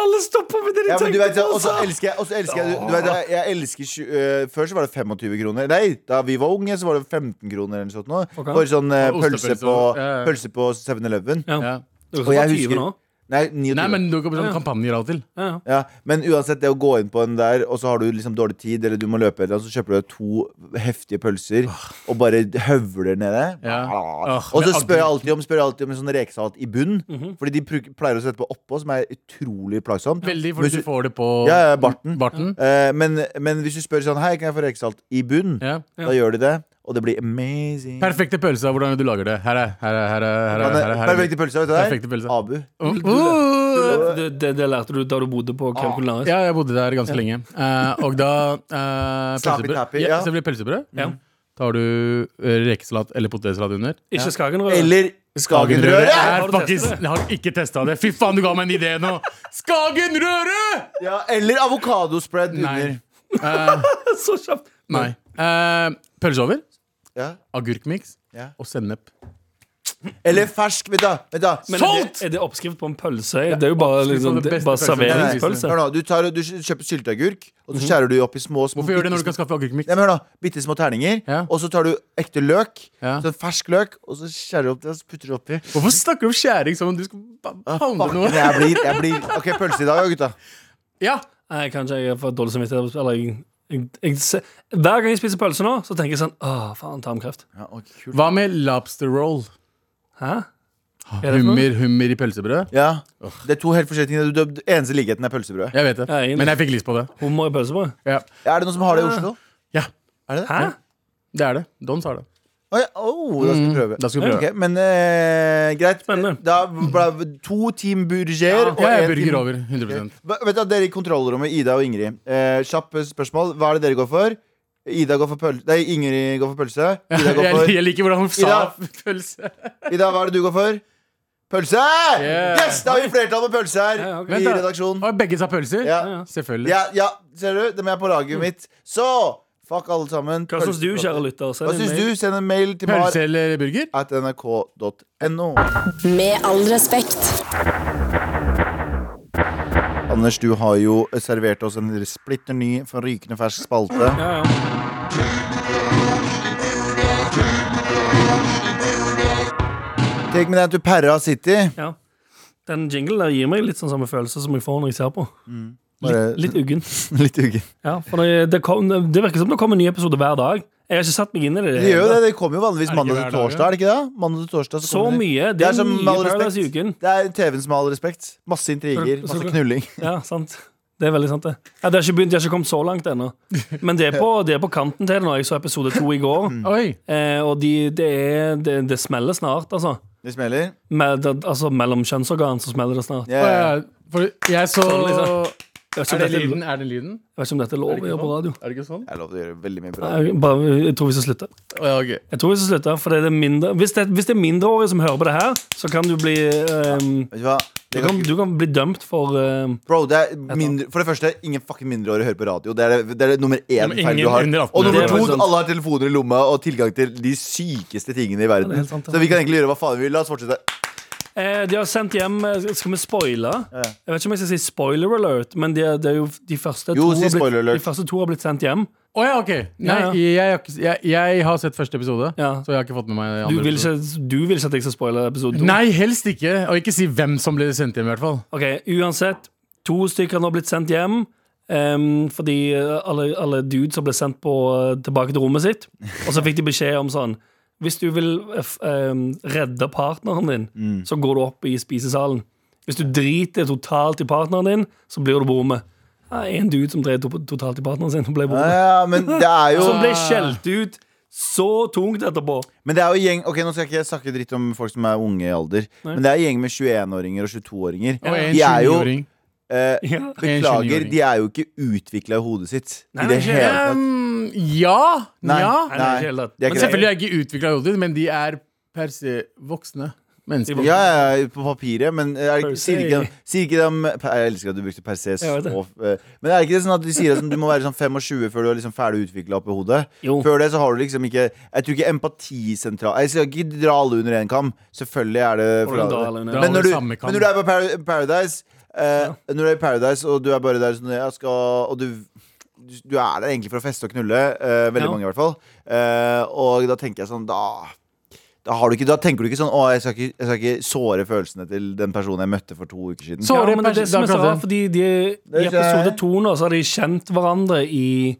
D: Alle stopper med det de
B: Ja, men du
D: tenker
B: vet,
D: på,
B: og så
D: altså.
B: elsker jeg, og så elsker jeg, du, du vet, jeg, jeg elsker tju- eh, Før så var det 25 kroner. Nei, da vi var unge, så var det 15 kroner eller noe sånt. nå. For sånn eh,
C: Og
B: pølse
C: ostepølse
B: på,
C: og- ja, ja.
B: pølse på 7-Eleven.
D: Ja. Det
C: ja.
D: er jo
B: Og
D: sånn
B: jeg
D: 20
B: husker
D: nå.
B: Nei, 29.
C: Nei, men du kan sånn kampanjer av og til.
D: Ja, ja.
B: Ja, men uansett, det å gå inn på en der, og så har du liksom dårlig tid, eller du må løpe, eller noe, så kjøper du deg to heftige pølser og bare høvler nede.
C: Ja. Åh,
B: Og
C: det
B: så
C: er
B: spør jeg alltid
C: aldri-
B: om, spør jeg alltid om en sånn rekesalt i bunnen,
C: Mhm.
B: fordi de pru- pleier å sette på oppå, som er utrolig plagsomt.
C: Veldig,
B: Men
C: fordi
B: hvis
C: du får det på
B: Ja, ja, barten.
C: barten.
B: Eh, men, men hvis du spør sånn Hei, kan jeg få rekesalt i bunn?
C: Ja.
B: Da gjør de det, og det blir amazing.
C: Perfekte pølse av hvordan du lager det. Her er, her er, her er, her er,
B: Men,
C: her
B: eh,
C: er, her er.
B: Perfekte pølser, vet du det?
C: Perfekte pølser.
B: Abu.
C: Oh, oh.
D: Det, det, det lærte du da du bodde på Camp Culinaris.
C: Ja, jeg bodde der ganske lenge. Eh, og da eh,
B: Slappy
C: pølsebrød.
B: tappy,
C: ja,
B: ja.
C: så det blir pølsebrød. Mm.
D: Ja.
C: Da har du eh, rekesalat eller potetsalat under.
D: Ikke Skagenrøret.
B: Eller Skagenrøret!
C: Skagenrøret! Jeg
D: Har du
C: er
D: testet
C: faktisk-
D: det?
C: Jeg har ikke testa det. Fy faen, du ga meg en idé nå! Skagenrøret!
B: Ja, eller avokadospread
C: Nei.
B: under.
D: [LAUGHS] Så kjapt.
C: Nei. Eh, pølse over.
B: Ja.
C: agurkmiks
B: Ja.
C: og sennep.
B: Eller fersk, vet du. Vet du.
D: Men er
C: Solgt!
D: det, er det oppskrift på en pølse? Det er jo bare,
C: oppskrift på
D: liksom,
C: den
D: det,
C: beste
D: bare
C: pølsen.
D: serveringspølse.
B: Hør nå, du, tar, og- du kjøper sylteagurk, og så skjærer du opp i små, små
C: Mhm. Hvorfor gjør du det
B: bitte
C: når du kan skaffe agurkmiks?
B: Nei, men hør da, bitte små terninger,
C: Ja.
B: og så tar du ekte løk.
C: Ja.
B: Sånn fersk løk, og så skjærer du opp det og så putter du oppi. Ah,
C: Hvorfor snakker du om skjæring som om du skal pa- pounde
B: Fuck,
C: noe?
B: jeg blir, jeg blir OK, pølse i dag, ja, gutta.
C: Ja,
D: Nei, kanskje jeg får dårlig samvittighet. Eller jeg, jeg, jeg, se- hver gang jeg spiser pølse nå, så tenker jeg sånn Åh, faen, tarmkreft.
B: Ja, ok, kult.
C: Hva med lobster roll?
D: Hæ?
B: Ah.
D: Hva er det for noe?
C: Hummer, hummer i pølsebrød?
B: ja. Det er to helt forskjellige ting. Det- det- Eneste likheten er pølsebrød.
C: Jeg vet det,
D: Ja, egentlig.
C: men jeg fikk lyst på det.
D: Hummer i pølsebrød?
C: Ja,
B: Er det noen som har
C: Ah.
B: det i Oslo?
C: ja
B: Er det det?
D: Hæ?
C: det er det. Don sa det.
B: Å ja. oh, da skal vi prøve.
C: Mhm. Da skal vi prøve.
B: Ok, men eh, greit.
D: Spennende.
B: Da ble det to Team Burger
C: Og jeg er
B: en
C: burger
B: team-
C: over. 100
B: Hva- Vet du, Dere i kontrollrommet, Ida og Ingrid. Eh, kjapp spørsmål. Hva er det dere går for? Ida går for pølse Nei, Ingrid går for pølse.
C: [LAUGHS]
B: Ida går for
C: Jeg, jeg liker hvordan hun sa pølse.
B: Ida, hva er det du går for? Pølse!
C: Yeah.
B: Yes, da har vi flertall på pølse her
D: Ja, ok.
B: i
C: Vent da.
B: redaksjonen.
C: Og begge sa pølser?
B: Ja.
C: Selvfølgelig.
B: Ja, ja, ser du? Dem er på laget mitt. Så fuck alle sammen.
D: Hva syns du, kjære lytter? Send
B: Hva
D: en
B: syns
D: mail.
B: du? Send en mail til mar
C: Pølse eller burger?
B: at nrk.no.
A: Med all respekt.
B: Anders, du har jo servert oss en splitter ny fra rykende fersk spalte.
C: [LAUGHS]
D: Ja, ja.
B: Take me down to Perra City.
D: ja. Den jinglen der gir meg litt sånn samme følelse som jeg får når jeg ser på.
B: Bare-
D: Litt uggen.
B: [LAUGHS] litt uggen.
D: Ja, for det, det, kom, det virker som det kommer en ny episode hver dag. Jeg har ikke satt meg inn i det.
B: Det gjør jo det. Det kommer jo vanligvis
C: Er det ikke
B: mandag til
C: hver dag,
B: torsdag, er det ikke det? Mandag til torsdag
D: Så
B: kommer det.
D: mye.
B: Det
D: Det
B: er
D: er,
B: som med
D: mye
B: all
D: Paradise i
B: respekt.
D: uken.
B: Det er TV-en som har all respekt. Masse intriger,
D: Så- så-
B: masse [LAUGHS] knulling.
D: Ja, sant. Det er veldig sant, det. Ja, det har ikke begynt, de har ikke kommet så langt ennå. Men det er på, det er på kanten til det nå. Jeg så episode to i går,
C: Oi.
D: eh, og de, det, er, det, det smeller snart, altså.
B: Det smeller.
D: Med, det, altså mellom kjønnsorgan så smeller det snart.
B: Ja, ja,
C: Å, ja,
B: ja.
C: For jeg så
D: Sånn, liksom. Jeg vet
C: Er
D: ikke om
C: det
D: dette,
C: lyden? Er det lyden?
D: jeg vet ikke om dette er
C: Er
D: lov
C: det
D: å
C: ikke
D: gjøre på
C: sånn?
D: radio.
C: Er det ikke sånn?
B: Jeg lover å gjøre veldig mye bra.
D: Jeg, bare, jeg tror vi skal slutte.
C: Å, ja, ok.
D: Jeg tror vi skal slutte, for det er det mindre, hvis, det, hvis det er mindreårige som hører på det her, så kan du bli ehm,
B: Vet du hva?
D: du,
B: Det
D: kan,
B: kan,
D: du kan bli dømt for ehm,
B: bro, det er mindre, for det første, ingen fucking mindreårige hører på radio. Det er det, det, er det nummer én
C: men
B: feil du
C: ingen
B: har.
C: under 18.
B: Og
D: Det
B: nummer
D: er
B: to,
D: faktisk sant.
B: alle har telefoner i lomma og tilgang til de sykeste tingene i verden.
D: det er helt sant, det.
B: så vi kan egentlig gjøre hva faen vi vil. La oss fortsette.
D: Eh, de har sendt hjem eh, Skal vi spoile? Jeg vet ikke om jeg skal si spoiler alert, men de, er- det er jo de første,
B: Jo,
D: to
B: si
D: har blitt,
B: spoiler alert.
D: de første to har blitt sendt hjem.
C: Å, ja, ok. Nei,
D: Ja, ja.
C: Jeg, har ikke, jeg, jeg har sett første episode,
D: Ja.
C: så jeg har ikke fått med meg
D: Du
C: andre
D: vil,
C: episode.
D: ikke, du vil ikke at jeg skal spoile episode to?
C: Nei, helst ikke. Og ikke si hvem som ble sendt hjem, i hvert fall.
D: Ok, Uansett, to stykker har nå blitt sendt hjem. ehm, fordi eh, alle, alle dudes som ble sendt på, eh, tilbake til rommet sitt. Og så fikk de beskjed om sånn Hvis du vil eh, f- ehm, redde partneren din,
B: Mm.
D: så går du opp i spisesalen. Hvis du driter totalt i partneren din, så blir du på rommet. Ja, en dude som drev to- totalt i partneren sin, [LAUGHS] og ble på
B: Ja, ja,
D: rommet.
B: [LAUGHS] men det er jo
D: Som ble skjelt ut så tungt etterpå.
B: Men det er jo gjeng Ok, nå skal jeg ikke snakke dritt om folk som er unge i alder, men det er gjeng med 21-åringer og 22-åringer.
C: Og en
B: De er jo
C: 29-åring.
B: eh,
D: Ja.
B: Beklager,
C: 21-åring.
B: de er jo ikke utvikla i hodet sitt.
D: Nei,
B: I det
D: men ikke-
B: hele tatt.
C: Um, ja.
B: Nei,
C: ja.
D: Nei, det er ikke helt rett.
B: de er ikke
D: Men
C: Men
B: det.
C: selvfølgelig er jeg ikke utvikla hodet, men de er per se voksne mennesker.
B: Ja, ja, ja, på papiret, men eh, er det,
D: Per
B: ikke-
D: se.
B: sier ikke de, sier ikke de per- Jeg elsker at du brukte per se.
D: Jeg vet det.
B: og, eh, Men er det ikke det sånn at de sier at du må være sånn 25 før du er liksom ferdig utvikla oppi hodet?
D: Jo.
B: Før det så har du liksom ikke Jeg tror ikke empatisentral Jeg skal ikke dra alle under én kam. Selvfølgelig er det
D: Hvordan dra alle under en
B: men,
C: kam?
B: når
C: Dra
B: du,
C: alle i samme kam.
B: men når du er på Par- Paradise eh, Når du er i Paradise og du er bare der sånn jeg skal, Og du du- du er der egentlig for å feste og knulle, eh, veldig
D: Ja.
B: mange i hvert fall. Eh, og da tenker jeg sånn Da da, har du ikke, da tenker du ikke sånn Å, jeg skal ikke, jeg skal ikke såre følelsene til den personen jeg møtte for to uker siden.
C: Så-
D: Ja, men det er det som er så
C: Dagblad.
D: rart, fordi de,
B: er
D: i
B: ikke-
D: episode to nå så har de kjent hverandre i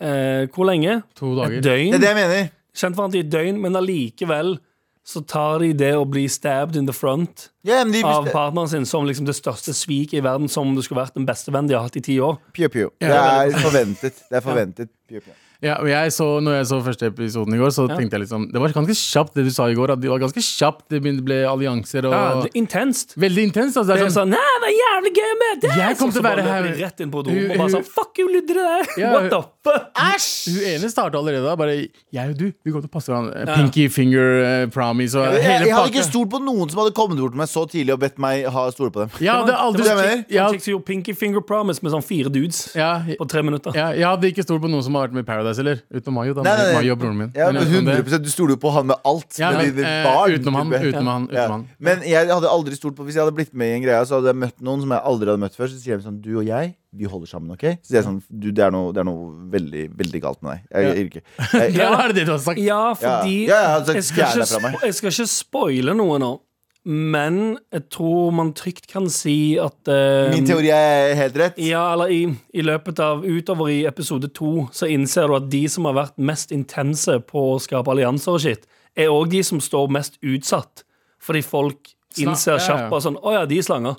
D: eh, Hvor lenge?
C: To
D: Et
C: dager.
B: Det er
D: døgn.
B: det jeg mener.
D: Kjent hverandre i et døgn, men allikevel så tar de det å bli stabbed in the front
B: Ja, men de
D: av
B: visste
D: partneren sin som liksom det største sviket i verden, som om det skulle vært den beste vennen de har hatt i ti år.
B: Pjo, pjo. Det
C: Ja.
B: er forventet. Det er forventet. Pjo, pjo.
C: Ja, og jeg så, når jeg så første episoden i går, så tenkte jeg liksom Det var ganske kjapt, det du sa i går. At det var ganske kjapt det begynte- ble allianser og
D: Ja, det er intenst.
C: Veldig intenst. Altså,
D: Det er
C: det er sånn,
D: sånn, Nei, det er jævlig gøy med det er
C: Jeg
D: sånn
C: kommer til
D: som
C: å være
D: bare
C: her-
D: løper rett inn på do
C: Hun-
D: og bare
C: hun-
D: sånn Fuck you, lydde det der!
C: Ja,
D: What the fuck?
C: Hun ene starta allerede da. Bare 'jeg og du, vi går til å passe hverandre'. Pinky finger eh, promise og
B: Jeg,
C: hele
B: jeg hadde ikke
C: pakka.
B: stolt på noen som hadde kommet bort til meg så tidlig og bedt meg ha stole på dem.
C: Jeg hadde aldri
B: Det var en chick-
C: jeg
D: Ja.
C: hadde-
D: Sånn Chicks gjorde Pinky Finger Promise med sånn fire dudes
C: ja, jeg-
D: på tre minutter.
C: ja, jeg hadde ikke stolt på noen som har vært med i Paradise heller. Utenom Mayo, da.
B: Nei, nei, nei.
C: Mayo og broren min.
B: Ja,
C: Men
B: men
C: utenom det-
B: 100 Du stoler jo på han med alt.
C: Ja,
B: men
C: men,
B: de- de
C: eh,
B: barn,
C: utenom han,
B: type.
C: utenom han,
B: Ja.
C: utenom han.
B: Men jeg hadde aldri stolt på Hvis jeg hadde blitt med i en greie, så hadde jeg møtt noen som jeg aldri hadde møtt før. Så sier de sånn Du og jeg, vi holder sammen, OK? Så sier jeg sånn Du, det er noe, det er noe veldig, veldig galt med deg. Jeg, jeg, jeg,
C: [LAUGHS]
B: jeg,
C: Ja, er det det du har sagt?
D: Ja, fordi
B: Ja, ja, altså,
D: jeg, skal
B: fjern
D: ikke,
B: deg fra meg.
D: spo- jeg skal ikke spoile noe nå, men jeg tror man trygt kan si at eh,
B: min teori er helt rett.
D: Ja, eller i, i løpet av Utover i episode to så innser du at de som har vært mest intense på å skape allianser og shit, er òg de som står mest utsatt. Fordi folk
C: Sla-
D: innser
C: ja, ja.
D: kjapt bare sånn Å ja, de er slanger.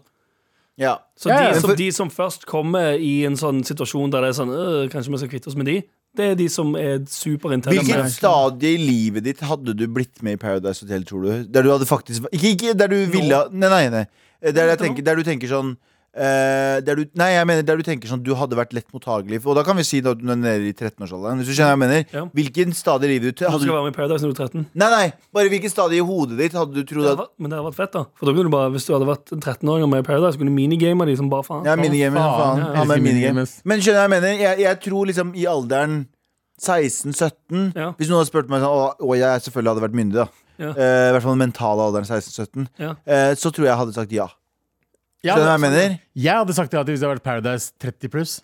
B: Ja.
D: Så
C: Ja, ja.
D: de,
B: Men
D: som,
B: for-
D: de som først kommer i en sånn situasjon der det er sånn «Øh, Kanskje vi skal kvitte oss med de? Det er de som er superinterne.
B: Hvilket
D: med-
B: stadie i livet ditt hadde du blitt med i Paradise Hotel, tror du? Der du hadde faktisk Ikke, ikke der du ville Nei, nei, nei. Eh, Der, jeg tenker, der du tenker sånn eh, der du, nei, jeg mener der du tenker sånn Du hadde vært lett mottagelig for Og da kan vi si at du er nede i 13-årsalderen Hvis du skjønner hva jeg mener
D: Ja.
B: Hvilken stadie i livet ditt
D: Du
B: hadde du
D: skal være med i Paradise når du er 13.
B: Nei, nei, bare hvilken stadie i hodet ditt hadde du
D: Det
B: trodd
D: hadde,
B: at
D: vært- men det hadde vært fett, da. For da kunne du bare, Hvis du hadde vært 13-åringer med i Paradise, så kunne du minigame de som bare faen.
B: Ja, minigamer,
C: faen,
B: faen
C: jeg
B: Ja, men
C: elsker
B: minigame
C: minigames.
B: Men skjønner jeg hva jeg mener Jeg, jeg tror liksom i alderen 16-17
D: Ja.
B: Hvis noen hadde spurt meg sånn Å, å, jeg selvfølgelig hadde vært myndig da
D: Ja.
B: Eh, I hvert fall den mentale alderen 16-17
D: Ja.
B: eh, Så tror jeg jeg hadde sagt ja
C: Ja,
B: Skjønner du hva jeg mener?
C: Jeg hadde sagt ja til hvis det hadde vært Paradise 30 pluss.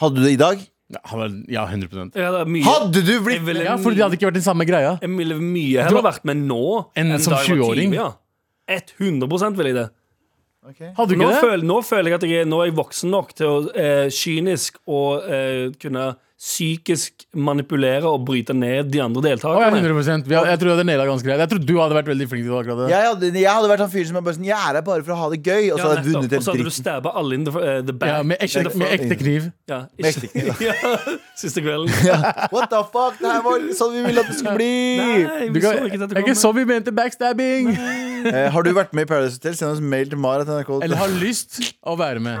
B: Hadde du det i dag?
C: Ja, han var- ja 100
D: Ja, det er mye,
B: Hadde du
D: jeg
B: blitt
D: ville
C: Ja, fordi det hadde ikke vært den samme greia.
D: Jeg ville mye heller vært med nå
C: Enn som
D: da jeg var
C: 20-åring.
D: tidlig, Ja. 100 vil jeg det.
C: Hadde du
D: Nå
C: ikke det?
D: føler, nå føler jeg at jeg er, nå er jeg voksen nok til å eh, kynisk og eh, kunne psykisk manipulere og bryte ned de andre
C: Å, ja,
D: deltakerne.
C: 100 Vi hadde- Jeg tror jeg hadde naila ganske greit. Jeg tror du hadde vært veldig flink til akkurat det.
B: jeg hadde, jeg hadde vært sånn fyr som er bare sånn Jeg er her bare for å ha det gøy Og så
D: Ja,
B: hadde jeg
D: nettopp.
B: vunnet hele
D: og så hadde du
B: dritten
D: stabba alle in the, eh, the back.
C: Ja, med ekte, med ekte kniv.
D: Ja,
B: Med
D: ikke-
B: ekte
D: ja, [LAUGHS] siste kvelden.
B: What the fuck, det her var sånn vi ville at det skulle bli
D: Nei,
C: Du
D: vi
C: kan,
D: så ikke
C: det
D: dette
C: er ikke
D: komme.
C: sånn vi mente backstabbing!
B: Eh, Har du vært med i Paradise Hotel? Send oss mail til mara.nrk
C: Eller har lyst å være med.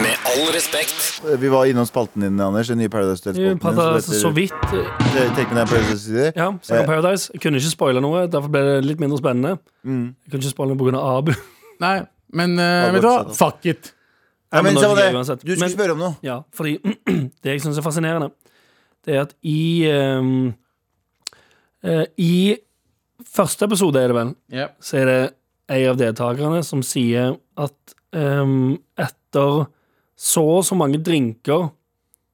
E: Med all respekt.
B: Eh, Vi var innom spalten din, Anders. Den nye Paradise
D: Vi
B: Hotel-spalten.
D: prata
B: din, som heter-
D: så vidt eh,
B: Eh, Take Me Down Paradise City.
D: Ja, snakk
B: Eh.
D: om Paradise. Jeg kunne ikke spoile noe, derfor ble det litt mindre spennende. Jeg kunne ikke spoile noe pga. Abu. [CLEARS THROAT]
C: Nei, men eh,
B: Ja,
C: vet du hva?
B: uansett.
C: Fuck it.
B: Nei, men,
D: men
B: samme
D: nå
B: det.
D: gir vi uansett.
B: Du skulle
D: Men-
B: spørre om noe.
D: Ja, fordi [CLEARS THROAT] det jeg syns er fascinerende, det er at i ehm, eh, I første episode, er det vel, så er det en av deltakerne som sier at ehm, etter så og så mange drinker,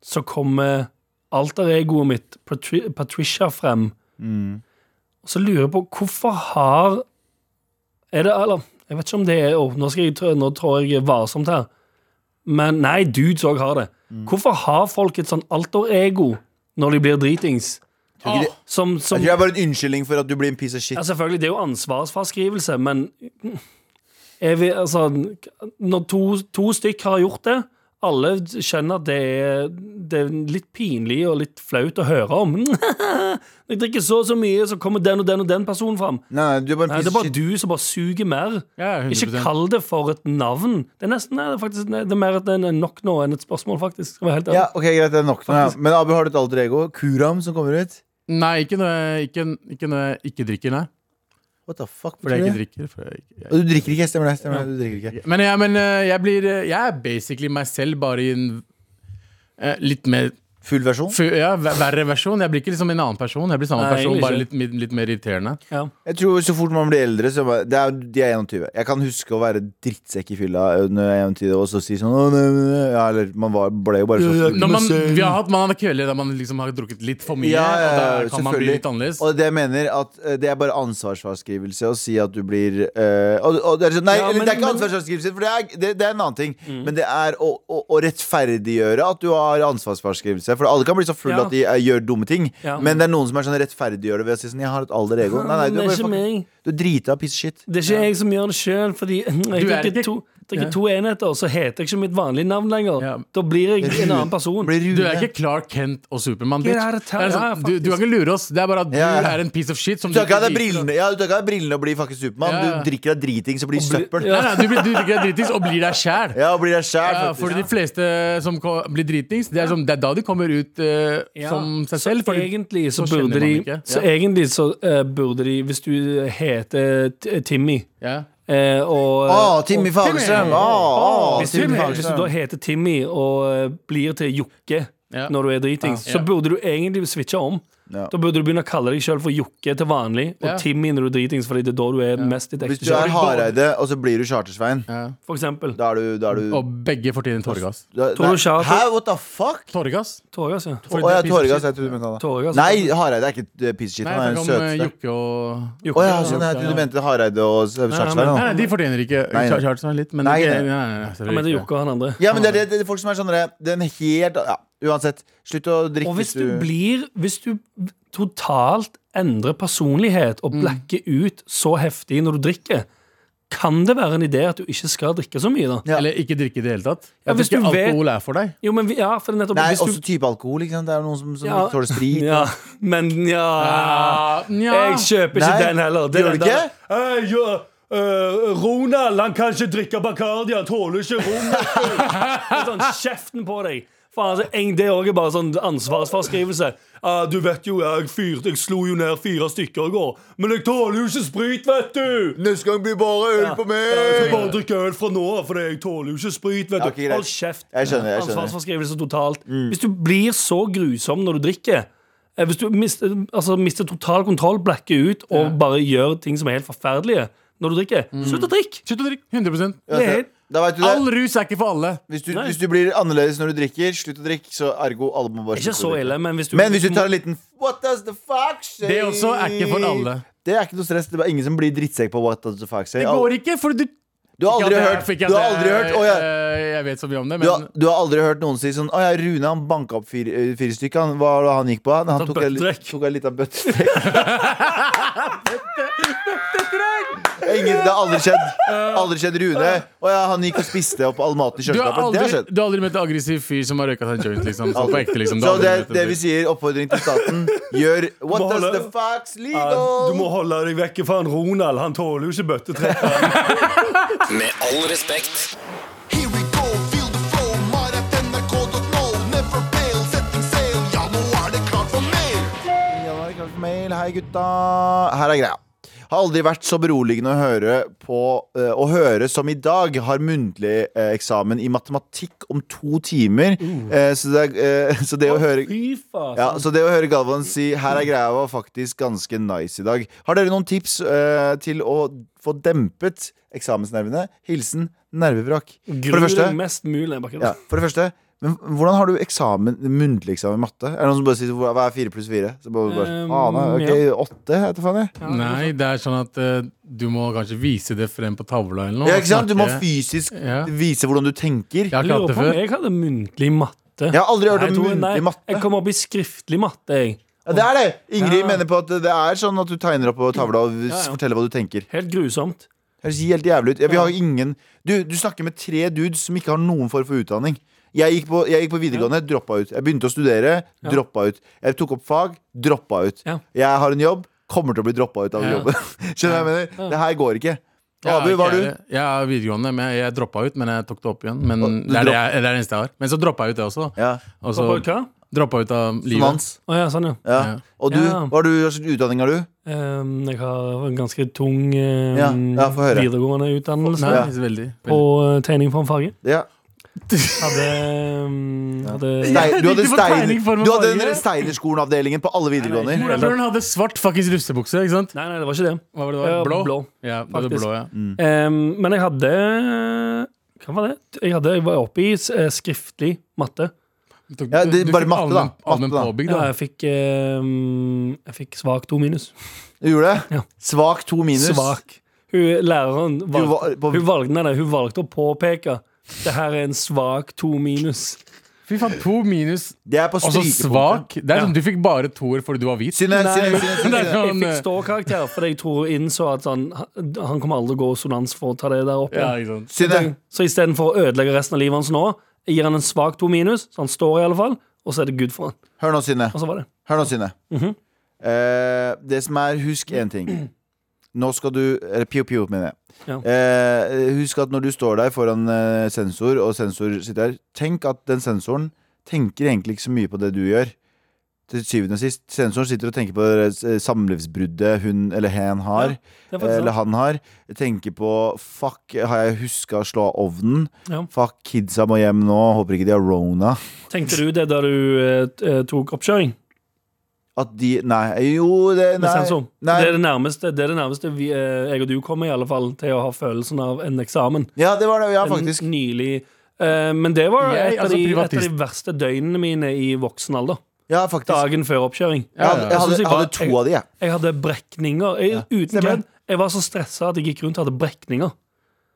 D: så kommer alter egoet mitt, Patri Patricia, frem.
B: Mm.
D: Og så lurer jeg på hvorfor har Er det Eller, jeg vet ikke om det er oh, Nå, skal jeg, trå- nå trår jeg varsomt her. Men nei, dudes òg har det.
B: Mm.
D: Hvorfor har folk et sånn alter ego når de blir dritings?
B: Tror ikke det-
D: Som,
B: Jeg
D: som
B: tror det er bare en unnskyldning for at du blir en piece of shit.
D: ja, selvfølgelig, det er jo ansvarsfraskrivelse, men er vi, altså, når to, to stykk har gjort det, alle skjønner at det er, det er litt pinlig og litt flaut å høre om. [LAUGHS] Jeg drikker så og så mye, så kommer den og den og den personen fram.
B: Nei, nei, du er bare en
D: Nei, det
B: piece of
D: er bare
B: shit.
D: du som bare suger mer.
C: Ja, 100%.
D: Ikke kall det for et navn. Det er nesten, nei, det er faktisk nei, det er mer at det er nok nå enn et spørsmål, faktisk. Skal være helt ærlig.
B: Ja, ok, greit, det er nok nå. Ja. Men Abu, har du et alter ego? Kuram som kommer ut?
C: Nei, ikke når jeg ikke, ikke, når jeg ikke drikker, nei.
B: What the fuck?
C: Fordi jeg
B: betyr
C: ikke
B: det?
C: drikker. Fordi jeg ikke, jeg,
B: Og du drikker ikke, stemmer det? Stemmer det. Du drikker ikke.
C: Men, ja, men eh, jeg blir eh, Jeg er basically meg selv, bare i en eh, litt mer
B: Full versjon?
C: fu- ja, ver- verre versjon. Jeg blir ikke liksom en annen person. Jeg blir samme
D: Nei,
C: person,
D: egentlig
C: bare
D: ikke.
C: litt, mi- litt mer irriterende.
D: Ja.
B: Jeg tror så fort man blir eldre så bare, det er, De er 21 Jeg kan huske å være drittsekk i fylla ø, Når jeg er 21 Og så si sånn «Å, nei, nei, nei». ja, Eller man var, ble jo bare så
C: Når man, vi har hatt, man har kvelder der man liksom har drukket litt for mye,
B: Ja, ja, ja,
C: og da kan man bli
B: selvfølgelig.
C: litt annerledes.
B: Og det jeg mener at eh, det er bare ansvarsfraskrivelse å si at du blir eh, og, og det er sånn, Nei,
D: Ja, men-
B: det er ikke
D: men-
B: ansvarsfraskrivelse, for det er, det, det er en annen ting.
C: Mm.
B: Men det er å, å, å rettferdiggjøre at du har ansvarsfraskrivelse. For alle kan bli så full
D: Ja.
B: at de eh, gjør dumme ting.
D: Ja.
B: Men det er noen som er sånn rettferdiggjør det ved å si sånn Jeg har et alder ego. Nei, nei, du er
D: Men det er
B: bare
D: ikke
B: fucking-
D: meg.
B: Du er drita piss shit.
D: Det er ikke jeg som gjør det sjøl, fordi jeg
C: Du er
D: drikker
C: ikke-
D: to, drikker to enheter, så heter jeg ikke mitt vanlige navn lenger.
C: Ja.
D: Da blir jeg en annen person.
B: Blir
C: Du
B: Rune.
C: er ikke Clark Kent og Supermann, bitch.
D: Get out of
C: Det
D: town.
C: er
D: Ja,
C: sånn, du, du kan ikke lure oss. Det er bare at du
B: Ja, ja.
C: er en piece of shit. Som
B: Du tar ikke av deg
C: liker.
B: brillene Ja, du tar ikke av deg brillene og blir fucking Supermann.
C: Ja, ja.
B: Du drikker av driting, så blir du søppel.
C: Nei, nei, du blir, du blir ikke dritings og blir deg sjæl.
B: Ja, og blir deg sjæl,
C: Ja, for de
B: faktisk.
C: fleste som ko- blir dritings, det er, som, det er da de kommer ut eh,
D: Ja,
C: som seg selv.
D: Så
C: fordi-
D: egentlig så,
C: så kjenner
D: burde de,
C: man ikke.
D: så egentlig så eh, burde de, hvis du heter T- Timmy
C: ja.
D: eh,
B: Å,
D: og ah,
B: Ah,
C: Ah,
B: Timmy Fagerstrøm! Å, å,
D: hvis,
B: Timmy
D: du, hvis du da
B: Fagerstrøm.
D: heter Timmy og eh, blir til Jokke
C: Ja.
D: når du er dritings,
C: Ja.
D: så burde du egentlig switche om.
B: Ja.
D: Da burde du begynne å kalle deg sjøl for Jokke til vanlig, og
C: Ja.
D: Timmy når du er dritings, fordi det er da du er mest ditt
B: Hvis
D: ekte
B: du er
D: sjøl.
B: Hareide, og så blir du Chartersvein,
D: For eksempel.
B: da er du, da er du
C: Og begge fortjener tåregass.
B: da,
D: Tror du Charter-
B: Hæ, what the fuck?
C: Tåregass?
D: Torgas, ja.
B: Å ja, Torgas. Jeg trodde du mente han.
D: Torgas.
B: Nei, Hareide er ikke eh, piece of shit.
C: Nei,
B: Han er
C: jeg
B: den
C: snakker om eh,
B: søteste.
C: Jokke og
B: Å ja, sånn, jeg trodde du mente Hareide og Chartersveien.
D: men-
B: da.
C: Nei, nei, de fortjener ikke
B: Nei, nei.
C: Charlton litt, men
B: Nei,
C: ikke-
B: nei.
C: nei, nei, nei, sorry.
D: Jeg mener Jokke og han andre.
B: Ja, men det er det, det er folk som er sånn derre, Den helt Ja, uansett. Slutt å drikke
D: Og hvis du blir Hvis du totalt endrer personlighet
B: Mm.
D: og blacker ut så heftig når du drikker, kan det være en idé at du ikke skal drikke så mye, da?
B: Ja.
C: Eller ikke drikke i det hele tatt.
D: Ja,
C: Jeg
D: hvis
C: tror ikke
D: du vet-
C: alkohol er for deg.
D: Jo, men vi- ja, for det er nettopp
B: Nei,
D: hvis du,
B: også type alkohol. ikke sant? Det er noen som, som
D: Ja.
B: ikke tåler sprit.
D: ja, Men ja, Jeg kjøper ikke
B: Nei,
D: den heller.
B: gjør du ikke?
D: eh, Ronald, han kan ikke drikke Bacardi. Han tåler ikke Ronald. sånn, kjeften på deg. Faen, altså, en, det òg er bare sånn ansvarsfraskrivelse. Ah, du vet jo, jeg fyrte Jeg slo jo ned fire stykker i går. Men jeg tåler jo ikke sprit, vet du!
B: Neste gang blir bare øl på
D: Jeg skal bare
B: meg!
D: drikke øl fra nå av, for jeg tåler jo ikke sprit. vet
B: Ja,
D: du
B: ok, greit.
D: Hold kjeft.
B: Jeg skjønner, jeg skjønner. Mm.
D: Ansvarsforskrivelse totalt. Hvis du blir så grusom når du drikker eh, Hvis du mister, altså, mister total kontroll, blacker ut og bare gjør ting som er helt forferdelige når du drikker,
B: Mm.
D: slutt å drikke!
C: Slutt å drikke. 100
D: Det er helt-
B: Da vet du det.
C: All rus er ikke for alle.
B: Hvis du,
D: Nei.
B: hvis du blir annerledes når du drikker, slutt å drikke, så ergo alle må bare
D: Ikke
B: slutte å
D: så
B: drikke.
D: ille, men hvis du
B: Men hvis du tar en liten What does the fuck say?
C: Det også er ikke for alle.
B: Det er ikke noe stress. Det er bare ingen som blir drittsekk på what does the fuck say.
C: Det går ikke, for du
B: Du har aldri hørt
C: Fikk jeg
B: Du har
C: det-
B: aldri hørt Å ja.
C: eh, Jeg vet så mye om det,
B: Du har,
C: men
B: du har aldri hørt noen si sånn Å ja, Rune han banka opp fire, eh, fire stykker. Han, hva var det han gikk på? Han,
D: Ta
B: tok en li-
D: bøttedrekk.
B: tok en liten bøttestrekk. Ingen, det har aldri skjedd. Aldri skjedd Rune. Å ja, han gikk og spiste opp all maten i
C: du har
B: kjøleskapet. Det har
C: aldri,
B: skjedd.
C: du har aldri møtt en aggressiv fyr som har røyka seg en joint, liksom. Så på ekte, liksom. Du
B: Så
C: har aldri
B: det,
C: møtt en
B: det
C: fyr.
B: vi sier, oppfordring til staten, gjør What
D: må
B: does
D: holde-
B: the fucks
D: Ja,
B: legal?
D: holde deg vekk fra han Ronald. Han tåler jo ikke
B: [LAUGHS]
D: bøttetrekk.
E: Med all respekt.
F: Here we go, feel the flow, mar at nrk.no. Never fail, setting sail, ja nå er det klart for mer.
B: Ja, nå er det klart for mail. Hei, gutta. Her er greia. Har aldri vært så beroligende å høre, på, eh, å høre som i dag. Har muntlig eh, eksamen i matematikk om to timer. Eh, så, det, er, eh, så det å høre
D: Uh. Fy faen.
B: ja, så det å høre Galvan si 'her er greia' var faktisk ganske nice i dag. Har dere noen tips eh, til å få dempet eksamensnervene? Hilsen nervevrak. For
D: Gru
B: det første,
D: deg mest mulig. Bakke.
B: ja, for det første men hvordan har du eksamen, muntlig eksamen i matte? Er det noen som bare sier hva hva er fire pluss fire? Så bare, bare,
D: Um,
B: ah, nei, ok,
D: ja.
B: åtte heter faen jeg.
C: Nei, det er sånn at eh, du må kanskje vise det frem på tavla eller noe.
B: Ja, ikke sant? Du må
C: Snakke.
B: fysisk
C: Ja.
B: vise hvordan du tenker.
C: Jeg har
D: Jeg
C: klart
D: lurer
C: det
D: på om
C: før.
D: jeg hadde muntlig matte.
B: Jeg har aldri hørt om
D: Nei, jeg tror- nei,
B: muntlig matte.
D: Jeg kom opp i skriftlig matte, jeg.
B: Ja, det er det! Ingrid
D: Ja.
B: mener på at det er sånn at du tegner opp på tavla og
D: ja.
B: forteller hva du tenker.
D: Helt grusomt.
B: Det høres helt jævlig ut. Ja, vi har ingen du, du snakker med tre dudes som ikke har noen form for utdanning. Jeg gikk på, jeg gikk på videregående, droppa ut. Jeg begynte å studere, droppa ut. Jeg tok opp fag, droppa ut.
D: Ja.
B: Jeg har en jobb, kommer til å bli droppa ut av
C: Ja.
B: jobben. [LAUGHS] Skjønner du hva jeg mener? Det her går ikke. Abu, hva har du?
C: Jeg er videregående, men jeg droppa ut, men jeg tok det opp igjen. Men
B: Og du
C: det er det,
B: dropp-
C: jeg, det er det eneste jeg har. Men så droppa jeg ut det også. da.
B: Ja.
C: Og så
D: Hva? Hva?
C: droppa ut av
B: Som
C: livet.
B: hans.
D: Å ja, sånn, ja.
B: Ja.
C: Ja.
B: Og du,
D: Ja.
B: hva har du, hva slags utdanning har du?
D: Ehm, jeg har en ganske tung ehm,
B: Ja, ja, få høre.
D: videregående utdannelse
C: Nei,
B: Ja.
C: veldig,
D: på
C: veldig.
D: eh, tegning for en farge.
B: Ja.
D: Hadde, ehm, hadde
B: Stein, du hadde,
C: Ikke på
B: stein,
C: tegning for meg
B: du hadde
C: farge.
B: den Steinerskolen-avdelingen på alle
C: Hvor
B: videregående.
C: er broren hadde svart fuckings russebukse, ikke sant?
D: Nei, nei, det var ikke det.
C: Hva var det
D: Ja,
C: da? Blå?
D: blå,
C: Ja, det var
D: faktisk.
C: blå, ja.
B: Mm.
D: Ehm, men jeg hadde Hva var det? Jeg, hadde, jeg var oppe i eh, skriftlig matte.
C: Du tok-
B: Ja, det er
C: du
B: bare
C: fikk
B: matte, da.
C: allmenn-
B: Matte,
C: Allmenn
B: da.
C: påbygg,
D: Ja,
C: da.
D: jeg fikk, ehm, jeg fikk svak to minus.
B: Du gjorde det?
D: Ja.
B: Svak to minus.
D: Svak. Hun, læreren
B: Du
D: valgte,
B: var på-
D: hun, valgte, nei, nei, hun valgte å påpeke det her er en svak to minus.
C: Fy faen, to minus.
B: Det er på
C: Og så
B: strykepunktet.
C: Altså, svak. Det er
D: Ja.
C: sånn, Du fikk bare toer fordi du var hvit. [LAUGHS]
B: Synne, Synne, Synne,
C: Det
B: Synne.
C: er
D: Jeg
C: sånn,
D: fikk ståkarakter fordi jeg tror innså at han, han kommer aldri til å gå sonans for å ta det der opp.
C: ja,
D: igjen.
C: ikke sant.
B: Synne.
D: Så istedenfor å ødelegge resten av livet hans nå, jeg gir han en svak to minus, så han står i alle fall, og så er det good for han.
B: Hør nå, Synne.
D: Og så var det.
B: Hør nå, Synne.
D: Mhm.
B: Eh, det som er, husk én
D: [CLEARS THROAT]
B: ting. Nå skal du Eller pio, pio, mener jeg.
D: Ja.
B: Eh, husk at når du står der foran eh, sensor, og sensor sitter der, tenk at den sensoren tenker egentlig ikke så mye på det du gjør. Til syvende og sist. Sensoren sitter og tenker på det eh, samlivsbruddet hun eller hen har.
D: Det er faktisk
B: Eller
D: sant.
B: han har. Tenker på Fuck, har jeg huska å slå av ovnen?
D: Ja.
B: Fuck, kidsa må hjem nå. Håper ikke de har rona.
D: Tenkte du det da du eh, t- eh, tok oppkjøring
B: At de Nei, jo, det
D: med
B: Nei.
D: sensor?
B: nei.
D: Det er det nærmeste, det er det nærmeste vi, eh, jeg og du kommer i alle fall til å ha følelsen av en eksamen.
B: Ja, det var det. Ja,
D: En
B: faktisk.
D: Nylig. eh, men det var
C: Jeg,
D: et, av
C: altså,
D: de, et av de
C: privatist.
D: verste døgnene mine i voksen alder.
B: Ja, faktisk.
D: Dagen før oppkjøring.
B: Ja, jeg
C: ja.
B: hadde,
D: Jeg synes jeg
B: jeg hadde
D: bare-
B: to av de, jeg.
D: Jeg hadde brekninger. Jeg, Uten
B: Stemmer.
D: kødd. Jeg var så stressa at jeg gikk rundt og hadde brekninger.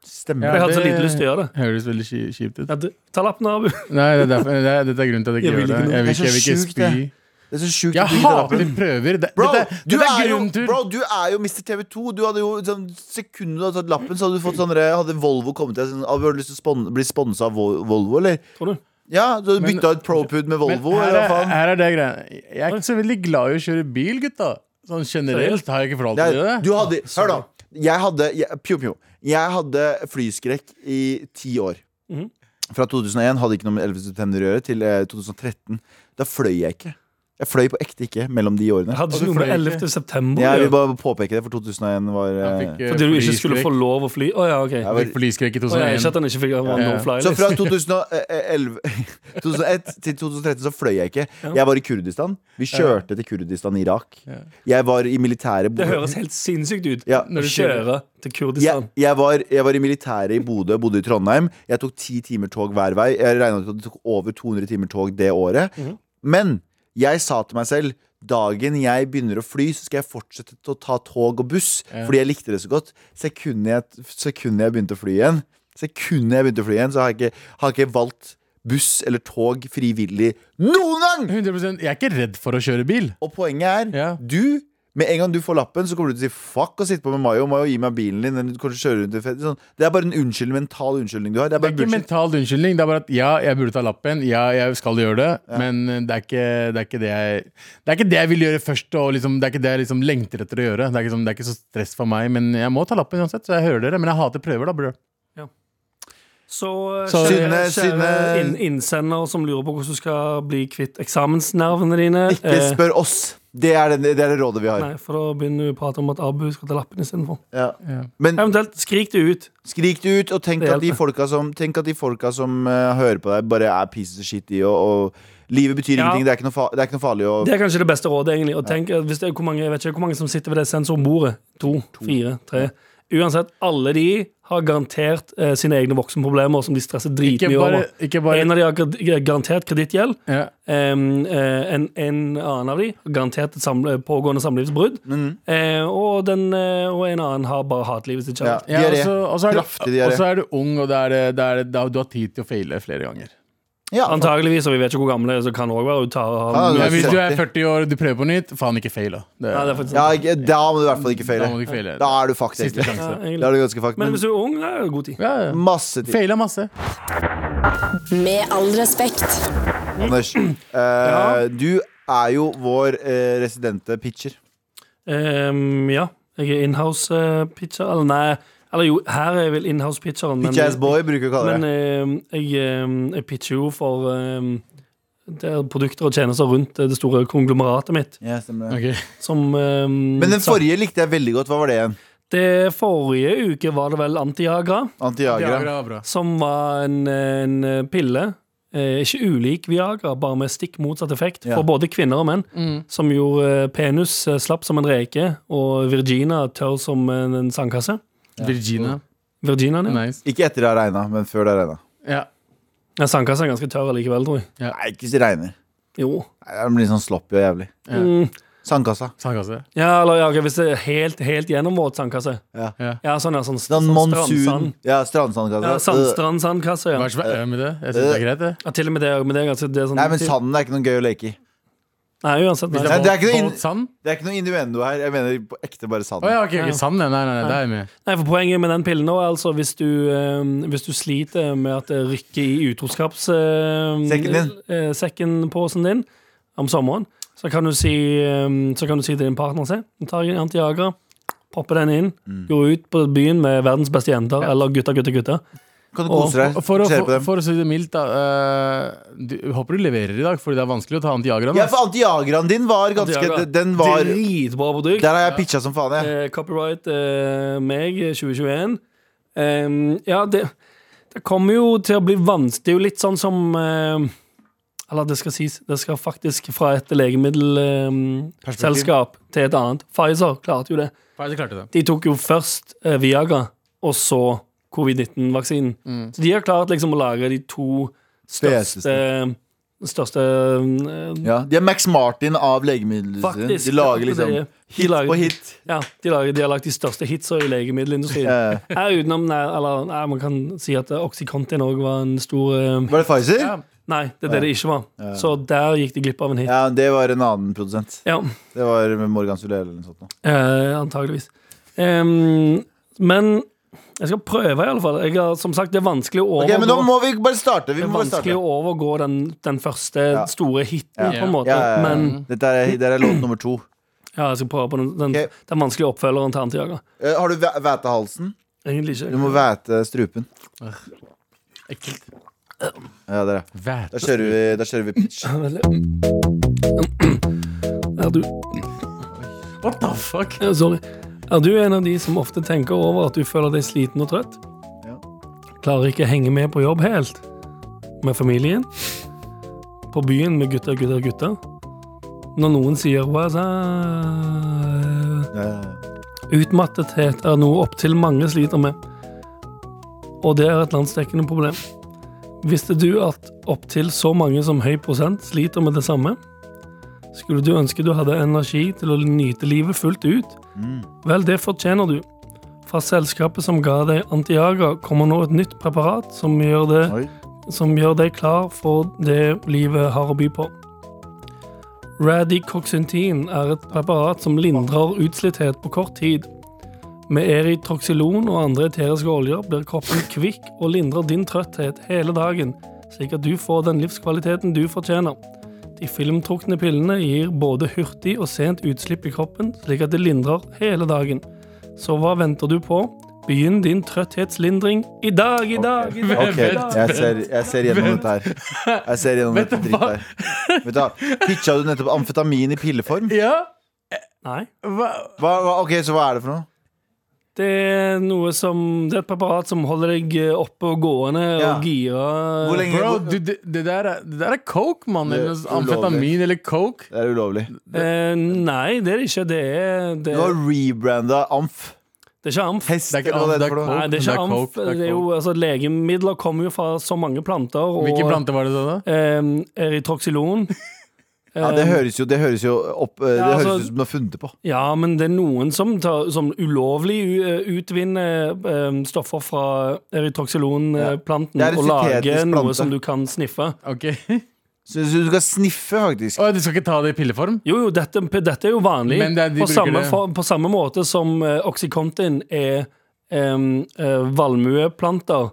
B: Stemmer.
C: Ja,
D: Jeg hadde så
C: det-
D: lite lyst til å gjøre det.
C: Høres veldig ki- kjipt ut.
D: Ja, du- Ta lappen av.
C: Nei, det er derfor, det er, Dette er grunnen til at jeg
D: Jeg
C: ikke
D: vil
C: gjør det.
D: ikke noe.
C: Jeg vil ikke, jeg
B: Det er
C: vil ikke
B: så
C: spy.
B: sjukt, Det er så sjukt at du
C: Jeg
B: ikke drar opp
C: hater
B: den.
C: prøver. Det,
B: Bro,
C: dette,
B: du
C: dette er
B: er jo,
C: grunntur.
B: bro, du er jo Mr. TV2. Du hadde jo sånn, Sekundet du hadde tatt lappen, så hadde du fått sånn der- Hadde Volvo kommet til deg sånn, «Ah, Har du lyst til å spon bli sponsa av Vol- Volvo, eller?
D: Tror du?
B: Ja, du hadde
C: Men-
B: bytta ut ProPud med
C: Men
B: Volvo,
C: her,
B: eller hva
C: er,
B: faen?
C: her er det greia. Jeg er ikke så veldig glad i å kjøre bil, gutta. Sånn generelt har jeg ikke forhold til
B: Nei,
C: det.
B: du hadde Hør, da. Jeg hadde jeg, Pjo, pjo. Jeg hadde flyskrekk i ti år.
D: Mhm.
B: Fra 2001, hadde ikke noe med 11. september å gjøre, til eh, 2013. Da fløy jeg ikke. Jeg fløy på ekte ikke mellom de årene.
D: Jeg hadde
C: Og du
D: ikke noe med
C: fløy
D: 11. september å
B: Jeg vil
D: gjøre.
B: bare påpeke det, for 2001 var eh,
C: Jeg fikk, eh,
D: Fordi du ikke skulle få
C: flyskrekk.
D: lov å fly? Å ja, OK.
B: jeg
C: Jeg fikk
B: var,
C: flyskrekk i
D: Å, ja, ikke
C: 2001.
D: at han ikke fikk han var
C: Ja, ja.
D: no fly
B: Så fra
D: list.
B: 2011, [LAUGHS] 2001 til 2013 så fløy jeg ikke. Jeg var i Kurdistan. Vi kjørte til Kurdistan i Irak. Jeg var i militæret
D: Det høres helt sinnssykt ut.
B: Ja.
D: Å
C: Når du sier det.
D: kjøre til
B: jeg,
D: Kurdistan.
B: jeg, var, jeg var i militæret i Bodø, bodde i Trondheim. Jeg tok ti timer tog hver vei. Jeg regna ut at det tok over 200 timer tog det året. Men jeg sa til meg selv Dagen jeg begynner å fly, så skal jeg fortsette til å ta tog og buss. Fordi jeg likte det så godt. Sekundet jeg, sekundet jeg begynte å fly igjen, Sekundet jeg begynte å fly igjen så har jeg ikke, har jeg ikke valgt buss eller tog frivillig noen gang!
C: 100% Jeg er ikke redd for å kjøre bil.
B: Og poenget er,
C: Ja.
B: du med en gang du får lappen, så kommer du til å si fuck og sitte på med Mayo. Mayo, gi meg bilen din. Eller du kan kjøre rundt i fett. Sånn. Det er bare en unnskyld, mental unnskyldning du har. Det er
C: Det
B: bare
C: er ikke
B: bullshit.
C: mental unnskyldning. Det er bare at ja, jeg burde ta lappen. Ja, jeg skal gjøre det. Men eh, det er, ikke, det, er ikke det, jeg, det er ikke det jeg vil gjøre først. Og liksom, det er ikke det jeg liksom lengter etter å gjøre. Det er, ikke, sånn- det er ikke så stress for meg. Men jeg må ta lappen uansett, så jeg hører dere. Men jeg hater prøver, da, bror.
D: Så
C: Så-
D: kjære,
B: Synne-
D: kjære
B: Synne-
D: inn, innsender som lurer på hvordan du skal bli kvitt eksamensnervene dine
B: Ikke
D: eh,
B: spør oss. Det er det, det, er det rådet vi har.
D: Nei, for da begynner du å prate om at Abu skal ta lappen istedenfor.
B: Ja.
C: Ja.
B: Men
D: Eventuelt skrik det ut.
B: skrik det ut, og tenk
D: Det
B: at de
D: hjelper.
B: folka som, tenk at de folka som eh, hører på deg, bare er pieces of shit i og, og Livet betyr
D: Ja.
B: ingenting. Det er ikke noe, fa det er ikke noe farlig å
D: Det er kanskje det beste rådet, egentlig. Og tenk, eh, hvis det er hvor mange, jeg vet ikke hvor mange som sitter ved det sensorbordet. To, fire, tre. Uansett, alle de har garantert eh, sine egne voksenproblemer som de stresser
C: Ikke
D: dritmye
C: bare,
D: over.
C: ikke bare
D: En av de har gar- garantert kredittgjeld.
C: ja.
D: Em, eh, en, en annen av de har garantert et samle, pågående samlivsbrudd. Eh, og, den, eh, og en annen har bare hatlivet sitt
B: ja,
D: kjæreste.
C: Ja,
B: diaré.
C: og så- og så er du-
B: Kraftig diaré.
C: Og så er du ung, og det er, det er, det er, du har tid til å faile flere ganger.
B: Ja,
D: Antageligvis, og vi vet ikke hvor gamle, så kan det òg være hun tar
B: Ja,
C: Men
B: det er
C: hvis
B: sant.
C: du er 40 år og du prøver på nytt, faen, ikke fail, da. Det,
D: Nei, det er faktisk
B: ja, ikke- da må du i hvert fall ikke
C: da
B: feile.
C: må du ikke faile.
B: Da er du fucked,
C: Siste
B: egentlig.
D: Ja,
C: sjanse.
D: egentlig.
B: Da er du ganske fucked.
D: Men
B: Men
D: hvis du er ung, er det god tid.
C: Ja, ja.
B: masse tid.
C: Faila masse.
A: Med all respekt.
B: Anders, eh, du er jo vår eh, residente pitcher.
D: Ehm, ja, jeg er inhouse-pitcher. Eller nei, eller jo, her er jeg vel inhouse-pitcheren. men-
B: Pitch-ass boy bruker vi å kalle
D: Men
B: det.
D: ehm, jeg, ehm, jeg pitcher jo for ehm, det er produkter og tjenester rundt eh, det store konglomeratet mitt.
B: Ja, stemmer det.
C: Ok.
D: Som, ehm,
B: Men den
D: sa-
B: forrige likte jeg veldig godt. Hva var det igjen?
D: Det forrige uke var det vel Antiagra,
B: Antiagra.
D: som var en, en pille. Eh, ikke ulik Viagra, bare med stikk motsatt effekt
B: Ja.
D: for både kvinner og menn. Som gjorde eh, penis eh, slapp som en reke, og Virginia tørr som en, en sandkasse.
C: Virginia.
D: Virginia, ja.
C: Nice.
B: Ikke etter det har regna, men før det har regna.
C: Ja.
D: Ja, Sandkassa er ganske tørr likevel, tror jeg.
B: Nei, ikke hvis det regner.
D: Jo.
B: Nei, Den blir sånn sloppy og jævlig.
D: Mm,
B: Sandkassa.
C: Sandkasse.
D: Ja, eller ja, ok, hvis det er helt, helt gjennomvåt sandkasse.
B: Ja.
C: Ja.
D: Ja, sånn, ja, sånn, sånn
B: Den monsun
D: strandsand.
B: Ja, strandsandkassa. Øh,
D: Ja, sand, strand, sandkasse, ja.
C: Vær så vær med det. Jeg synes det er greit, det.
D: ja. Til og med det, men det er ganske det er sånn,
B: Nei, men sanden er ikke noe gøy å leke i.
D: Nei, uansett.
C: Hvis
D: Nei.
C: det
B: Nei,
C: er,
B: det er ikke det inn-
C: båt, båt, sand?
B: Det er ikke noe innuendo her. Jeg mener på ekte bare sanden.
C: Å ja, ok, ok, sand. Nei, nei, nei, det er jeg med.
D: Nei, for Poenget med den pillen nå er altså hvis du, eh, hvis du sliter med at det rykker i
B: Sekken
D: utroskapssekken
B: din.
D: eh, sekken påsen din om sommeren, så kan du si, eh, så kan du si til din partner se, du tar en Antiagra, popper den inn,
B: Mm.
D: går ut på byen med verdens beste jenter, eller gutter, gutter, gutter.
B: Kan du kose deg?
C: Og For å,
B: Se på
C: for,
B: dem.
C: for å si det mildt, da. eh, du, håper du leverer i dag, Fordi det er vanskelig å ta Antiagra.
B: Ja, for antiagraen din var ganske
D: Antiagra.
B: Den var
D: Dritbra produkt.
B: Der har jeg pitcha som faen, jeg.
D: Eh, copyright eh, meg, 2021. Em, ja, det, det kommer jo til å bli vanskelig. Det er jo litt sånn som eh, Eller det skal sies, det skal faktisk fra et legemiddelselskap til et annet. Pfizer klarte jo det.
C: Nei, det klarte det.
D: De tok jo først eh, Viagra, og så covid-19-vaksinen. Så de har klart liksom å lage de to største, største eh,
B: Ja, de er Max Martin av legemiddelindustrien.
D: Faktisk.
B: De lager liksom
D: De
B: hit
D: lager-
B: på hit.
D: Ja, de, lager, de har lagt de største hitsa i legemiddelindustrien.
B: Eh,
D: Her utenom, nei, eller, nei, man kan si at Oxycontin òg var en stor eh,
B: Var det Pfizer? Ja.
D: Nei, det er det det ikke var. Så der gikk de glipp av en hit.
B: det var en annen produsent.
D: Ja,
B: Det var Morgan Sulele eller noe sånt. nå.
D: eh, antageligvis. Em, men jeg skal prøve, i alle fall. Jeg har, som sagt, det er vanskelig å
B: Ok,
D: overgå,
B: men nå må vi bare starte. Vi
D: det er
B: må bare starte.
D: vanskelig å overgå den, den første
B: Ja.
D: store hiten,
B: Ja.
D: på en måte.
B: Ja, ja, ja.
D: Men
B: Dette er, dette er låt nummer to.
D: ja, jeg skal prøve på den, den,
B: Ok.
D: den vanskelige oppfølgeren til Antiaga.
B: Eh, har du væ- væte halsen?
D: Egentlig ikke.
B: Du må væte strupen.
C: Ekkelt.
B: Ja, der, ja. Da
C: Væte.
B: kjører vi, da kjører vi pitch.
D: Er du,
C: What the fuck?
D: eh, sorry. Er du en av de som ofte tenker over at du føler deg sliten og trøtt?
B: Ja.
D: Klarer ikke å henge med på jobb helt? Med familien? På byen med gutter, gutter, gutter? Når noen sier «What's up?»
B: Eh,
D: Utmattethet er noe opptil mange sliter med. Og det er et landsdekkende problem. Visste du at opptil så mange som høy prosent sliter med det samme? Skulle du ønske du hadde energi til å nyte livet fullt ut? Vel, det fortjener du. Fra selskapet som ga deg Antiaga, kommer nå et nytt preparat som gjør,
B: Oi.
D: det, som gjør deg klar for det livet har å by på. Radicoxyntin er et preparat som lindrer utslitthet på kort tid. Med eritroxilon og andre eteriske oljer blir kroppen kvikk og lindrer din trøtthet hele dagen, slik at du får den livskvaliteten du fortjener. De filmtrukne pillene gir både hurtig og sent utslipp i kroppen, slik at det lindrer hele dagen. Så hva venter du på? Begynn din trøtthetslindring i dag, i dag, i dag!
B: Ok,
D: i dag.
B: jeg ser, jeg ser gjennom dette her. Jeg ser gjennom
C: Vent,
B: dette dritt
C: hva?
B: her. Vet du, hva? pitcha du nettopp amfetamin i pilleform?
C: Ja?
D: Nei.
C: Hva?
B: Hva, hva, ok, Så hva er det for noe?
D: Det er noe som Det er et preparat som holder deg eh, oppe og gående
B: Ja.
D: og gira.
B: Hvor
D: Eh,
B: lenge
C: Bro,
B: hvor-
C: du, det, det, der er, det der er coke, mann.
B: Det er
C: Eller noe
B: ulovlig.
C: Amfetamin eller coke.
B: Det er ulovlig.
D: Eh, nei, det er det ikke. Det er, det,
B: Du har rebranda amf.
D: det er ikke amf.
B: Hest,
C: Det er ikke
B: eller hva det
C: amf,
B: heter for
C: det
B: noe.
D: Nei, det er
C: det er
D: ikke amf.
C: coke, det er
D: Det er jo, altså, legemidler kommer jo fra så mange planter. Og,
C: Hvilke planter var det da? da?
D: Eh, eritroxilon.
B: [LAUGHS] Ja, det høres jo, det høres jo opp eh, Det
D: Ja, altså-
B: høres ut som du har funnet det på.
D: Ja, men det er noen som, tar, som ulovlig u- eh, utvinner eh, stoffer fra eritroxilon-planten
B: Det er en
D: og lager
B: syntetisk plante.
D: noe som du kan sniffe.
C: Ok [LAUGHS]
B: Så så du skal sniffe, faktisk.
C: Å, Du skal ikke ta det i pilleform?
D: Jo, jo, dette, dette er jo vanlig.
C: Men det er- de
D: på,
C: bruker
D: samme,
C: det.
D: for, på samme måte som eh, Oxycontin er em, eh, valmueplanter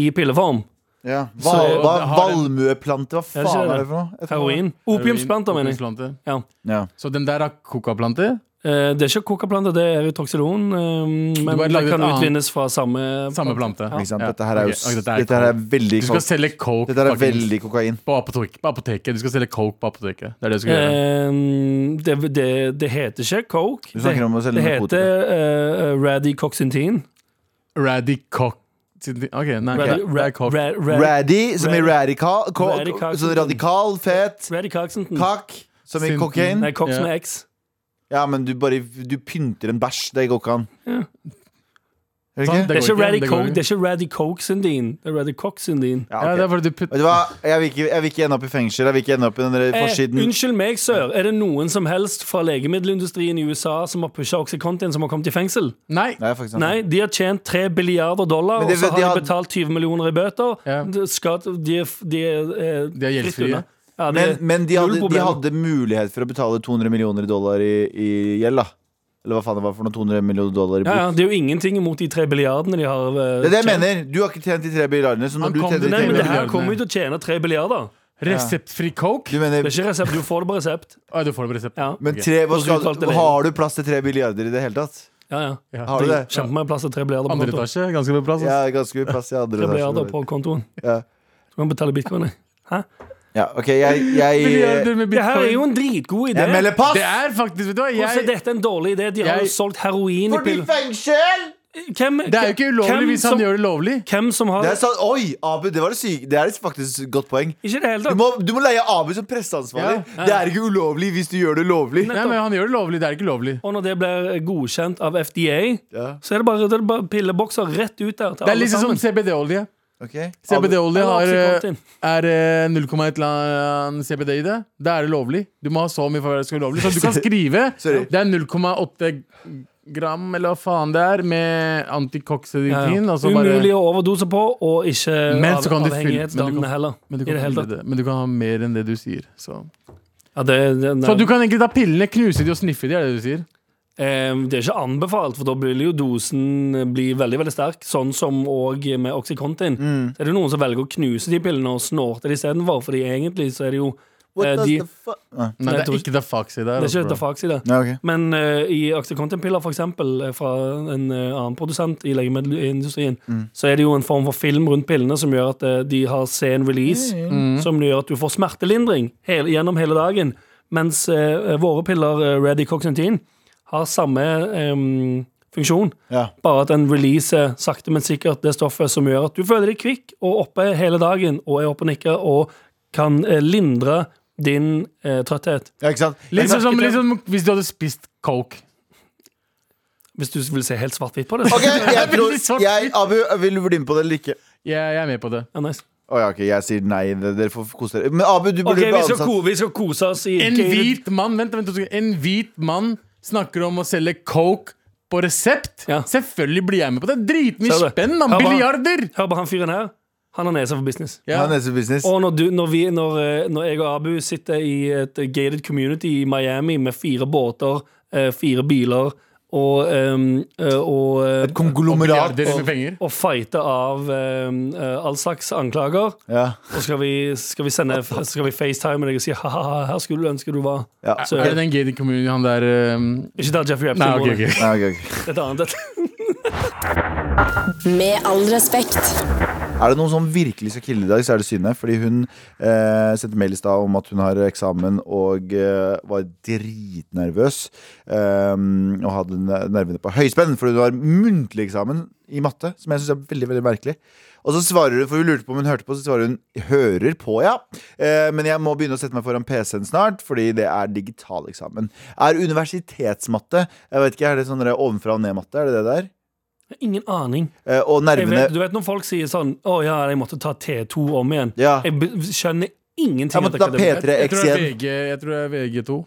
D: i pilleform.
B: Ja. Hva,
D: Så-
B: hva,
C: det har en-
B: valmueplante? Hva
D: det ikke
B: faen
D: det?
B: er det for noe? Jeg tror-
D: Heroin. Opiumsplanter, mener jeg.
C: Opiumsplanter.
D: Ja.
B: Ja.
C: Så den der har kokaplanter?
D: Eh, det er ikke kokaplanter, det er erytroxilon. Um, men
C: bare
D: det
C: lagde
D: kan
C: et annet-
D: utvinnes fra samme
C: Samme plante.
B: Ikke sant?
C: Ja.
B: Dette her er jo
C: Ok, ok,
B: s-
C: dette er
B: Dette her er
C: coke.
B: veldig
C: Du skal
B: coke.
C: selge coke
B: Dette her er
C: fuckings,
B: veldig kokain.
C: på, apotek, på apoteket. Du skal selge coke på apoteket. Det
D: Eh,
C: er det du skal gjøre.
D: Em, det, det, det heter ikke coke.
B: Du snakker
D: det,
B: om å selge
D: det
B: narkotika.
D: heter uh, radicoxyntin.
C: Radicock Ok, nei.
D: Radi,
C: ok.
D: ra,
C: Radicock.
D: ra, ra,
B: Raddy, som i radikal, ko-
D: Radikal.
B: så radikal fet.
C: Mm.
D: radicoxyntin.
B: Kakk, som i
C: Sinten.
B: kokain.
D: Nei, cox
C: Ja.
D: med x.
B: Ja, men du bare Du pynter en bæsj. Det går ikke an. Er det ikke?
C: Sant? Sånn, Det
D: Det er ikke
C: går
D: Raddy
C: ikke, det går
D: Coke,
C: ikke.
D: det er ikke Raddy Coke sin din. Det er Raddy Coke sin din.
B: Ja,
C: Ja,
B: ok.
C: det er fordi du putter
B: Vet du hva, jeg vil, ikke, jeg vil ikke ende opp i fengsel. Jeg vil ikke ende opp i den der
D: Eh,
B: forsiden.
D: unnskyld meg, sør. Er det noen som helst fra legemiddelindustrien i USA som har pusha Oxycontin, som har kommet i fengsel?
C: Nei.
B: Nei, faktisk ikke.
D: Nei, de har tjent 3 billiarder dollar,
B: Men det-
D: og så har
B: de
D: de
B: har-
D: betalt 20 millioner i bøter.
C: Ja.
D: De, skal, de, er- de, er, eh,
C: De er
D: fritt
C: gjeldfrie.
D: unna. Ja, de
B: Men,
D: er
B: men de,
D: null
B: hadde, de
D: problem.
B: hadde mulighet for å betale 200 millioner dollar i, i gjeld, da. Eller hva faen det var for noe 200 millioner dollar i
D: ja,
B: bot.
D: ja, Det er jo ingenting imot de 3 billiardene de har. eh,
B: Det er det jeg
D: tjent.
B: mener. Du har ikke tjent de tre milliardene. Så
C: Han
B: når du
C: kom
B: tjener
C: til
B: de
D: Nei,
B: tre
D: men det her
C: milliardene.
D: kommer jo til å tjene 3 billiarder.
C: Reseptfri coke?
B: Du mener
D: Det er ikke resept, du får det på resept.
C: Å, du får det på resept.
D: Ja,
B: men tre, hva
D: Hvordan
B: skal,
D: uttalte det?
B: Har du plass til tre milliarder i det hele tatt?
D: ja, ja.
C: Ja.
B: Har du det?
D: Kjempemye plass til 3 billiarder på
C: Andre
D: kontoen.
C: etasje, ganske mye plass.
B: Ja,
C: ass.
B: ganske mye plass i andre
D: 3 billiarder
B: etasje.
D: på kontoen.
B: Ja.
D: Du kan betale bitcoin. jeg. Hæ?
B: Ja, OK, jeg, jeg,
C: Milliarder med
D: Det her er jo
C: bitcoin.
D: en dritgod idé.
B: jeg melder pass!
C: Det er faktisk Vet du hva,
D: Hvordan er
C: jeg
D: dette en dårlig idé? De har
C: Jeg-
D: jo solgt heroin i piller.
B: fengsel!
D: Hvem,
C: Det er jo ikke ulovlig hvis han gjør det lovlig.
D: Hvem som har
B: Det er sånn, Oi, Abu, det var det syke. Det er faktisk et godt poeng.
D: Ikke i det hele
B: Du
D: tatt.
B: må, du må leie Abu som presseansvarlig. Det er ikke ulovlig hvis du gjør det lovlig.
C: Nei, men Han gjør det lovlig. Det er ikke lovlig.
D: Og når det blir godkjent av FDA,
B: Ja.
D: så er det bare, det er bare pillebokser rett ut der. Til
C: Det er
D: alle
C: litt sånn
D: sammen.
C: som CBD-olje.
B: Ok.
C: CBD-olje har,
D: Eller Oxycontin.
C: er eh, 0,1 la- CBD i det. Da er det lovlig. Du må ha så mye for at det skal være lovlig.
D: [LAUGHS]
C: Så du kan skrive
B: Sorry.
C: det er 0,8 gram, eller hva faen det er, med
D: Ja,
C: antikoksedentin.
D: ja.
C: og så altså, bare-
D: Umulig å overdose på, og ikke
C: Men så
D: av,
C: kan du fylle- men du
D: avhengighetsdannende
C: kan-
D: heller.
C: Men du,
D: I
C: kan
D: det hele tatt.
C: fylle det. men du kan ha mer enn det du sier. Så,
D: Ja, det, det, nei.
C: så du kan egentlig ta pillene, knuse de og sniffe de, er det du sier?
D: eh, det er ikke anbefalt, for da blir jo dosen blir veldig veldig sterk. Sånn som òg med Oxycontin. Så er det noen som velger å knuse de pillene og snorte det istedenfor, Fordi egentlig så er det jo eh, de,
C: Nei,
D: Nei,
C: det er
D: jeg tror-
C: ikke da fax i der.
D: Det er
C: altså,
D: ikke
C: bro.
D: dette faks i det.
B: Nei, ok.
D: Men eh, i Oxycontin-piller, for eksempel, eh, fra en eh, annen produsent i legemiddelindustrien,
B: Mm.
D: så er det jo en form for film rundt pillene som gjør at eh, de har sen release,
B: Mm.
D: som gjør at du får smertelindring hele, gjennom hele dagen. Mens eh, våre piller, eh, Ready Coxantin, har samme eh, funksjon.
B: Ja.
D: Bare at den releaser sakte, men sikkert det stoffet som gjør at du føler deg kvikk og oppe hele dagen og er oppe og nikker og kan eh, lindre din eh, trøtthet.
B: ja, ikke sant?
C: Litt sånn som
D: merket
C: litt sånn hvis du hadde spist coke.
D: Hvis du vil se helt svart-hvitt på det. så-
B: Ok,
C: [LAUGHS]
B: jeg
C: Veldig
B: tror
C: svart.
B: jeg, Abu, vil du bli med på det eller ikke?
C: Jeg, jeg er med på det.
D: Ja, nice.
B: Å ja, ok, jeg sier nei. det- Dere får kose dere. Men Abu, du
D: Ok,
B: burde
D: vi
B: bli
D: skal,
B: ansatt.
D: ko vi skal kose oss i
C: En
D: gated-
C: hvit mann vent, vent, to sekunder. En hvit mann snakker om å selge coke på resept.
D: Ja.
C: Selvfølgelig blir jeg med på det. Dritmye
D: Ser du?
C: spenn, mann.
D: Ja, bare-
C: Milliarder!
D: Hør på han fyren her. Han har nesa for business.
B: Ja,
C: Ja.
B: neste business.
D: Og når, du, når, vi, når, eh, når jeg og Abu sitter i et gated community i Miami med fire båter, eh, fire biler og em, eh, og, eh,
B: Konglomerat.
C: Milliarder med penger.
D: og fighter av em, eh, all slags anklager.
B: Ja.
D: Og skal vi, skal vi, sende, skal vi facetime deg og si ha-ha, her skulle du ønske du var.
B: ja.
D: Så,
C: Er det den gated community han der um...
D: ikke der Jeffrey Epstein
C: Nei, ok,
D: bor.
C: ok.
B: Nei, ok, ok.
D: Det er et annet. [LAUGHS] et-
A: Med all respekt.
B: Er det noen som virkelig skal kille i dag, så er det Synne. Fordi hun eh, sendte mail i stad om at hun har eksamen og eh, var dritnervøs. Ehm, og hadde ne- nervene på høyspenn, fordi hun har muntlig eksamen i matte. Som jeg syns er veldig veldig merkelig. Og så svarer hun, for hun lurte på om hun hørte på, så svarer hun 'hører på', ja. Eh, men jeg må begynne å sette meg foran PC-en snart, fordi det er digital eksamen. Er universitetsmatte Jeg vet ikke, er det sånn der ovenfra og ned-matte? Er det det der?
D: Ingen aning.
B: Eh, og
D: Jeg
B: nervene
D: vet, du vet når folk sier sånn Å ja, jeg måtte ta T2 om igjen.
B: Ja.
D: Jeg be- skjønner ingenting.
B: Jeg måtte ta
D: av akademi-
C: Jeg tror det er
B: P3X1.
C: VG, jeg tror det er VG2.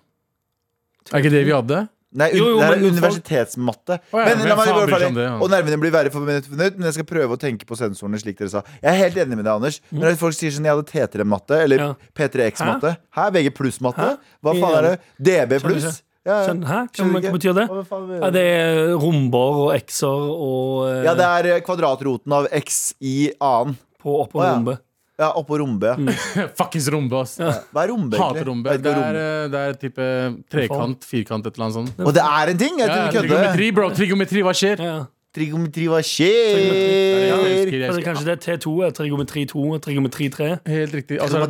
C: Er ikke det vi hadde? [LAUGHS]
B: Nei, un
D: Jo, jo,
B: det er
D: men folk-
B: universitetsmatte.
C: Å ja,
B: men,
C: men
B: la meg
C: faen
B: bare
C: bryr seg
B: ferdig.
C: om det, ja.
B: Og nervene blir verre for minutt for minutt, men jeg skal prøve å tenke på sensorene, slik dere sa. Jeg er helt enig med deg, Anders. Når folk sier sånn jeg hadde T3-matte, eller
D: Ja.
B: P3X-matte Hæ, VG pluss-matte? Hva
D: I-
B: faen er det? DB
D: Skjønner
B: pluss?
D: ikke.
B: Ja, ja.
D: Skjønn- Hæ? Hva,
B: Skjønner
D: hva
B: ikke.
D: betyr det?
B: Hva faen
D: Ja, det er romber og x-er og eh,
B: Ja, det er eh, kvadratroten av x i annen.
D: på opp og
B: Å, ja.
D: rombe.
B: Ja, oppå rombe. ja.
C: Fuckings rombe, ass.
B: Hva er rombe, egentlig?
C: Hater rombe.
B: Jeg vet
C: Det
B: ikke hva
C: er,
B: rombe-
C: eh, det er type trekant, firkant, et eller annet sånt.
B: Og det er en ting! Jeg
C: Ja,
B: trodde du kødde.
C: trigonometri, bro. Trigonometri, hva skjer?
D: Ja.
B: Trigonometri, hva
C: Jeg husker,
B: skjer?
C: jeg
D: Eller
C: husker.
D: kanskje det er T2, er trigonometri 2, er trigonometri 3,
C: Helt riktig. Altså, er
B: Trigonometri,
C: det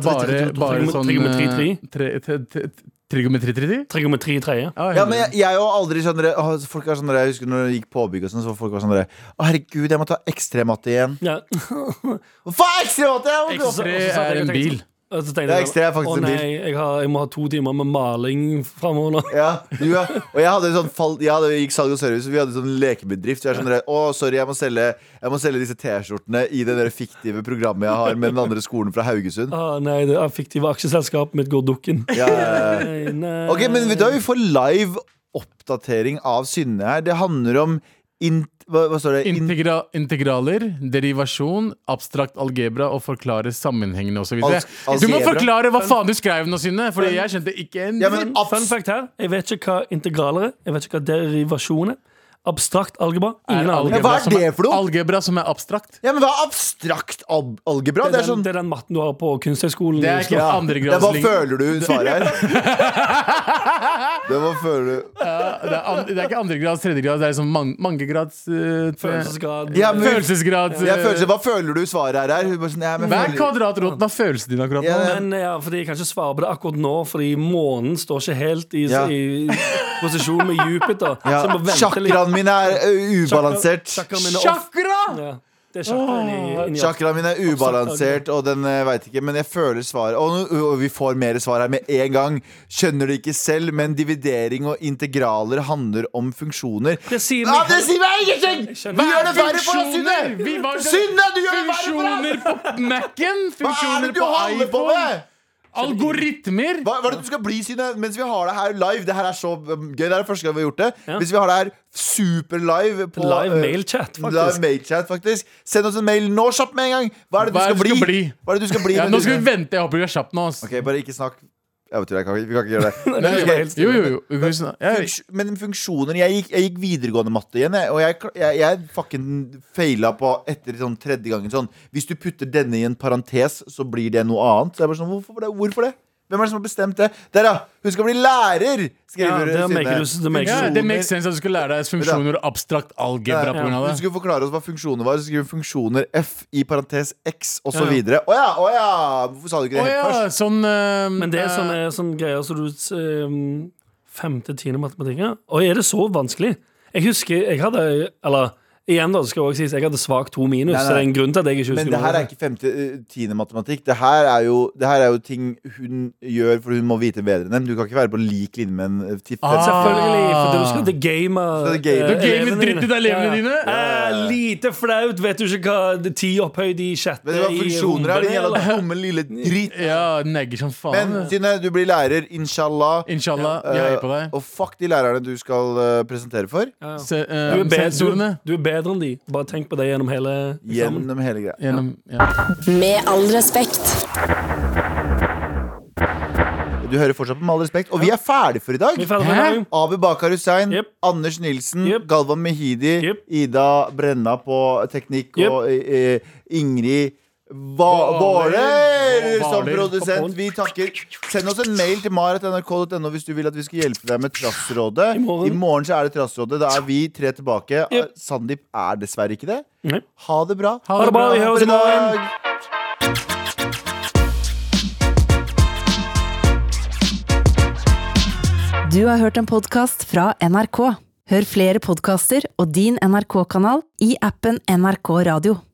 B: trigonometri,
C: bare, bare sånn
D: trigonometri,
C: eh, tre- te- te- te- Trigonometri 3?
D: trigonometri 3.
B: Ja, men jeg, jeg og aldri sånn dere- åh, Folk er sånn dere- Jeg husker når jeg gikk påbygg og sånn Så var folk var sånn dere, Å herregud, jeg må ta ekstrematte igjen
D: Ja.
B: Hva faen er ekstrematte? Jeg må bli opp-
D: Ekstra- [LAUGHS] Og så satt jeg
C: Tre er
D: og
C: en
D: tenkte
C: bil.
D: sånn- Og så tenkte
B: Det er
D: jeg
B: ekstra, jeg er
D: sånn,
B: faktisk
D: Å
B: en bil.
D: nei, jeg, har, jeg må ha to timer med maling framover nå. [LAUGHS]
B: Ja, du, ja. Og jeg hadde sånn fall, jeg hadde, gikk salg og service, og vi hadde sånn lekebedrift. Jeg er sånn, redd, å, sorry, jeg må selge, jeg må selge disse T-skjortene i det der fiktive programmet jeg har med den andre skolen fra Haugesund.
D: Å nei, det fiktive aksjeselskapet mitt går
B: [LAUGHS]
D: dukken.
B: Ja, ja, ja.
D: Nei, nei.
B: Ok, men vet du hva, vi får live oppdatering av Synne her. Det handler om in, hva, hva står det? In,
C: Integra integraler, derivasjon, abstrakt algebra og forklare sammenhengene osv.
B: Al-
C: Du må
B: algebra.
C: forklare hva faen du skrev nå, Synne, Fordi jeg skjønte ikke en
B: ja, men
D: Fun
B: abs
D: fact her. Jeg vet ikke hva integraler er. Jeg vet ikke hva derivasjon er. Abstrakt algebra.
C: Er
D: Ingen
C: algebra
D: algebra.
B: Men hva er
C: som
B: det for noe?
C: Algebra som er abstrakt.
B: ja, men hva er abstrakt al algebra?
D: Det
B: Det
D: er,
B: er
D: den,
B: sånn
D: det er den matten du har på Kunsthøgskolen.
C: Det
D: i
C: er
D: Oslo.
B: ja,
C: ikke
B: det er hva
C: andregradsling.
B: føler du hun svarer her? [LAUGHS] Det var føler du
C: Det er, an det er ikke andregrads, tredjegrads, det er sånn man mangegrads eh, tre-
D: Følelsesgrad.
B: Ja, men-
C: Følelsesgrad.
B: jeg
C: eh,
B: føler, Hva føler du svaret her er? Hun bare sånn, ja, men
C: Hva er
B: føler-
C: kvadratroten av følelsen din akkurat nå?
B: Ja,
D: Men ja, fordi Jeg kan ikke svare på det akkurat nå, fordi månen står ikke helt i,
B: Ja.
D: i posisjon med Jupiter.
B: Ja.
D: så jeg må vente litt.
B: Chakraen min er ø, ubalansert.
D: Chakraen min er off.
C: Chakra!
D: Ja, det er chakra inni, inni oss.
B: Chakraen min er ubalansert, og den eh, vet ikke, men jeg føler svaret. Og, nå- og vi får mer svar her med en gang. Skjønner det ikke selv, men dividering og integraler handler om funksjoner.
D: Det sier
B: Ja,
D: meg-
B: det sier meg ingenting! Du gjør det verre for oss, Synne!
C: Vi var-
B: Synne, du gjør det verre for oss!
C: Funksjoner på Mac-en,
B: Hva er
C: funksjoner
B: det du
C: på
B: holder på
C: iPhone,
B: med?
C: algoritmer
B: Hva, hva er det du skal bli, Synne, mens vi har det her live? Det her er så um, gøy. Det er det første gang vi har gjort det. Hvis vi har det her superlive på
D: Live
B: eh,
D: mailchat, faktisk.
B: Live mailchat, faktisk. Send oss en mail nå kjapt med en gang. Hva er det du, skal, bli? Hva er det du skal bli?
C: Ja,
B: med
C: nå
B: du-
C: skal vi vente. Jeg håper vi er kjappe nå. ass.
B: Ok, bare ikke snakk Jeg vet ikke, jeg kan, ikke- vi kan ikke gjøre det
C: Nei,
B: Men, ok,
C: jo, jo, jo. vi kan jo snakke. Jeg-
B: funks- Men funksjoner jeg gikk, jeg gikk videregående matte igjen jeg, Og jeg, kla- jeg, jeg fucking feila på Etter sånn tredje gangen sånn Hvis du putter denne i en parentes Så blir det noe annet Så jeg bare sånn, hvorfor det? Hvorfor det? Hvem er det som har bestemt det? Der ja, hun skal bli lærer
D: Ja,
B: Skriver
D: det
B: Synne.
D: maker du- det maker
C: Ja, det
B: Funksjoner-
C: makes sense at du skal lære deg funksjoner og abstrakt algebra på
B: Hun
C: grunn av det.
B: skulle forklare oss hva funksjoner var Så skriver hun funksjoner F i parentes X Og så
D: Ja, ja.
B: videre Åja, åja Hvorfor sa du ikke det
C: Å
B: helt
C: ja,
B: først?
C: sånn eh,
D: Men det er sånn, sånne, sånne greier som du ehm, Femte, tiende matematikk ja. Oi, er det så vanskelig? Jeg husker, jeg hadde Eller, igjen da, det skal også sies Jeg hadde svak to minus,
B: Nei, nei.
D: så det er en grunn til at jeg ikke husker
B: Men det her er ikke femte, eh, tiende matematikk. Det her, er jo, det her er jo ting hun gjør for hun må vite bedre enn dem. Du kan ikke være på lik linje med en eh, til
C: Ah.
B: femte-
D: Selvfølgelig, for du skal til game
B: Skal til game.
D: eh,
B: Du
C: gamer
D: elevene
C: dritt ut av elevene dine.
D: Eh, Lite flaut, vet du ikke hva det er Ti opphøyd i sjette
B: Vet du hva
D: i
B: funksjoner er?
D: rumpene,
B: Din jævla
D: eller?
B: dumme lille dritt.
C: Ja, negger som faen.
B: Men Synne, du blir lærer, inshallah.
C: Inshallah. Jeg
B: Eh,
C: heier på deg.
B: og fuck de lærerne du skal eh, presentere for.
C: Se, eh,
D: du er, bedre,
C: sensorene
D: du, du er bedre enn de Bare tenk på det gjennom hele eksamen
B: Gjennom hele greia.
C: gjennom ja.
A: Med all respekt.
B: Du hører fortsatt på Med all respekt. Og vi er ferdig for i dag.
D: Vi er ferdig for i
C: Hæ?
D: dag
B: Abu Bakar Hussein,
D: Jep.
B: Anders Nilsen,
D: Jep.
B: Galvan Mehidi,
D: Jep.
B: Ida Brenna på teknikk
D: Jep.
B: og eh, Ingrid Va- Våler
C: Våler.
B: som
C: Våler.
B: produsent. Vi takker. Send oss en mail til maret.nrk.no hvis du vil at vi skal hjelpe deg med Trassrådet. I
D: morgen.
B: morgen, så er det Trassrådet. Da er vi tre tilbake.
D: Jep.
B: Sandeep er dessverre ikke det.
D: Nei.
B: Ha det bra.
D: Ha det bra, vi høres i morgen
B: dag.
G: Du har hørt en podkast fra NRK. Hør flere podkaster og din NRK-kanal i appen NRK Radio.